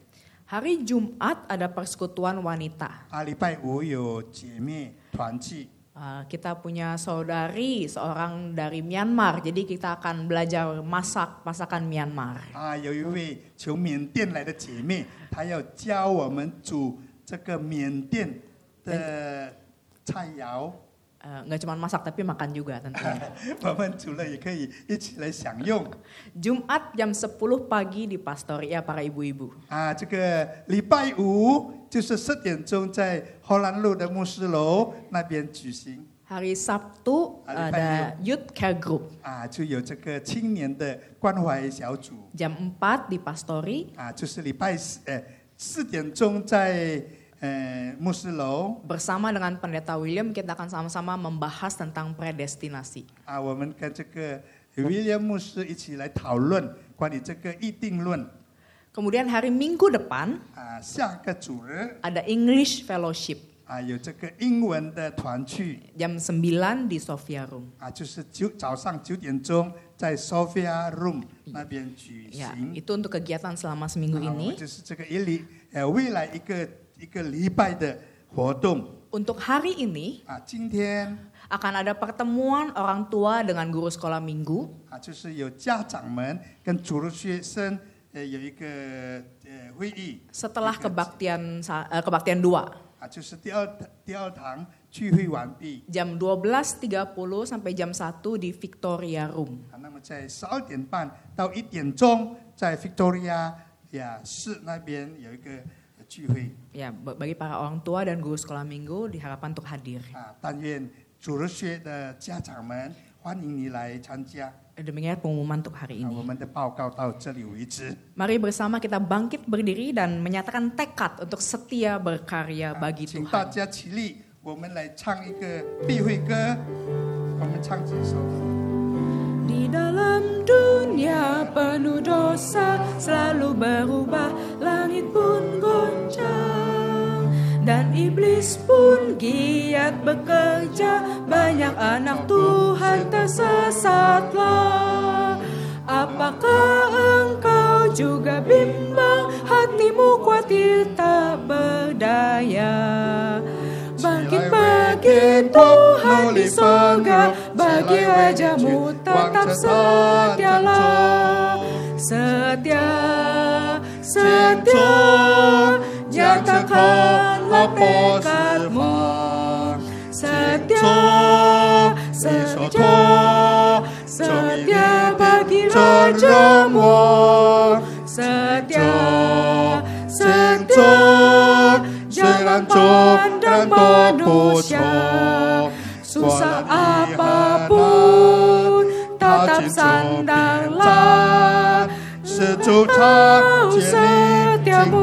Speaker 3: Hari Jumat ada persekutuan wanita.
Speaker 1: 啊，礼拜五有姐妹团聚
Speaker 3: Uh, kita punya saudari seorang dari Myanmar, jadi kita akan belajar masak masakan Myanmar.
Speaker 1: 啊，有一位从缅甸来的姐妹，她要教我们煮这个缅甸的菜肴，
Speaker 3: Eh, nggak cuma masak tapi makan juga tentunya.
Speaker 1: 我们煮了也可以一起来享用。
Speaker 3: Jumat jam 10 pagi di Pastoria para ibu-ibu.
Speaker 1: 啊，这个礼拜五就是四点钟在荷兰路的牧师楼那边举行
Speaker 3: Hari Sabtu eh,
Speaker 1: Hari
Speaker 3: ada Youth Care Group.
Speaker 1: 啊，就有这个青年的关怀小组
Speaker 3: Jam 4 di Pastori.
Speaker 1: 啊，就是礼拜四呃四点钟在呃牧师楼
Speaker 3: Bersama dengan Pendeta William kita akan sama-sama membahas tentang predestinasi.
Speaker 1: 啊，我们跟这个 William 牧师一起来讨论关于这个议定论
Speaker 3: Kemudian hari Minggu depan
Speaker 1: 啊，下个主日
Speaker 3: ada English Fellowship
Speaker 1: 啊有这个英文的团聚
Speaker 3: jam 9 di Sofia Room.
Speaker 1: 啊，就是九早上九点钟在 Sophia Room 那边举行。
Speaker 3: Ya, itu untuk kegiatan selama seminggu
Speaker 1: 啊我
Speaker 3: ini.
Speaker 1: 们就是这个一礼，呃，未来一个一个礼拜的活动
Speaker 3: Untuk hari ini
Speaker 1: 啊。今天
Speaker 3: akan ada pertemuan orang tua dengan guru sekolah minggu
Speaker 1: 啊，就是有家长们跟主日学生呃有一个呃会议
Speaker 3: setelah
Speaker 1: Oke.
Speaker 3: kebaktian sa- eh, kebaktian 2
Speaker 1: 啊，就是第二第二堂聚会完毕
Speaker 3: jam 12.30 sampai jam 1 di Victoria Room.
Speaker 1: 啊。那么在十二点半到一点钟，在 Victoria 呀市那边有一个呃聚会
Speaker 3: Ya, b- bagi para orang tua dan guru sekolah minggu diharapkan untuk hadir.
Speaker 1: 啊。但愿主日学的家长们欢迎你来参加。啊
Speaker 3: Demikian pengumuman untuk hari ini.
Speaker 1: 我们的报告到这里为止。
Speaker 3: Mari bersama kita bangkit berdiri dan menyatakan tekad untuk setia berkarya
Speaker 1: 啊
Speaker 3: bagi
Speaker 1: 请大
Speaker 3: Tuhan.
Speaker 1: 家起立，我们来唱一个必会歌，我们唱几首。
Speaker 4: Di dalam dunia penuh dosa selalu berubah Langit pun goncang Dan iblis pun giat bekerja Banyak anak Tuhan tersesatlah Apakah engkau juga bimbang Hatimu khawatir tak berdaya Bangkit bagi Tuhan di sorga Bagi wajahmu tetap setialah Setia, setia Nyatakanlah tekadmu Setia, setia Setia bagi rajamu Setia, setia Jalan pandang manusia Susah apapun Tetap sandanglah
Speaker 1: 是主他
Speaker 4: Tetap
Speaker 1: 建立
Speaker 4: setiamu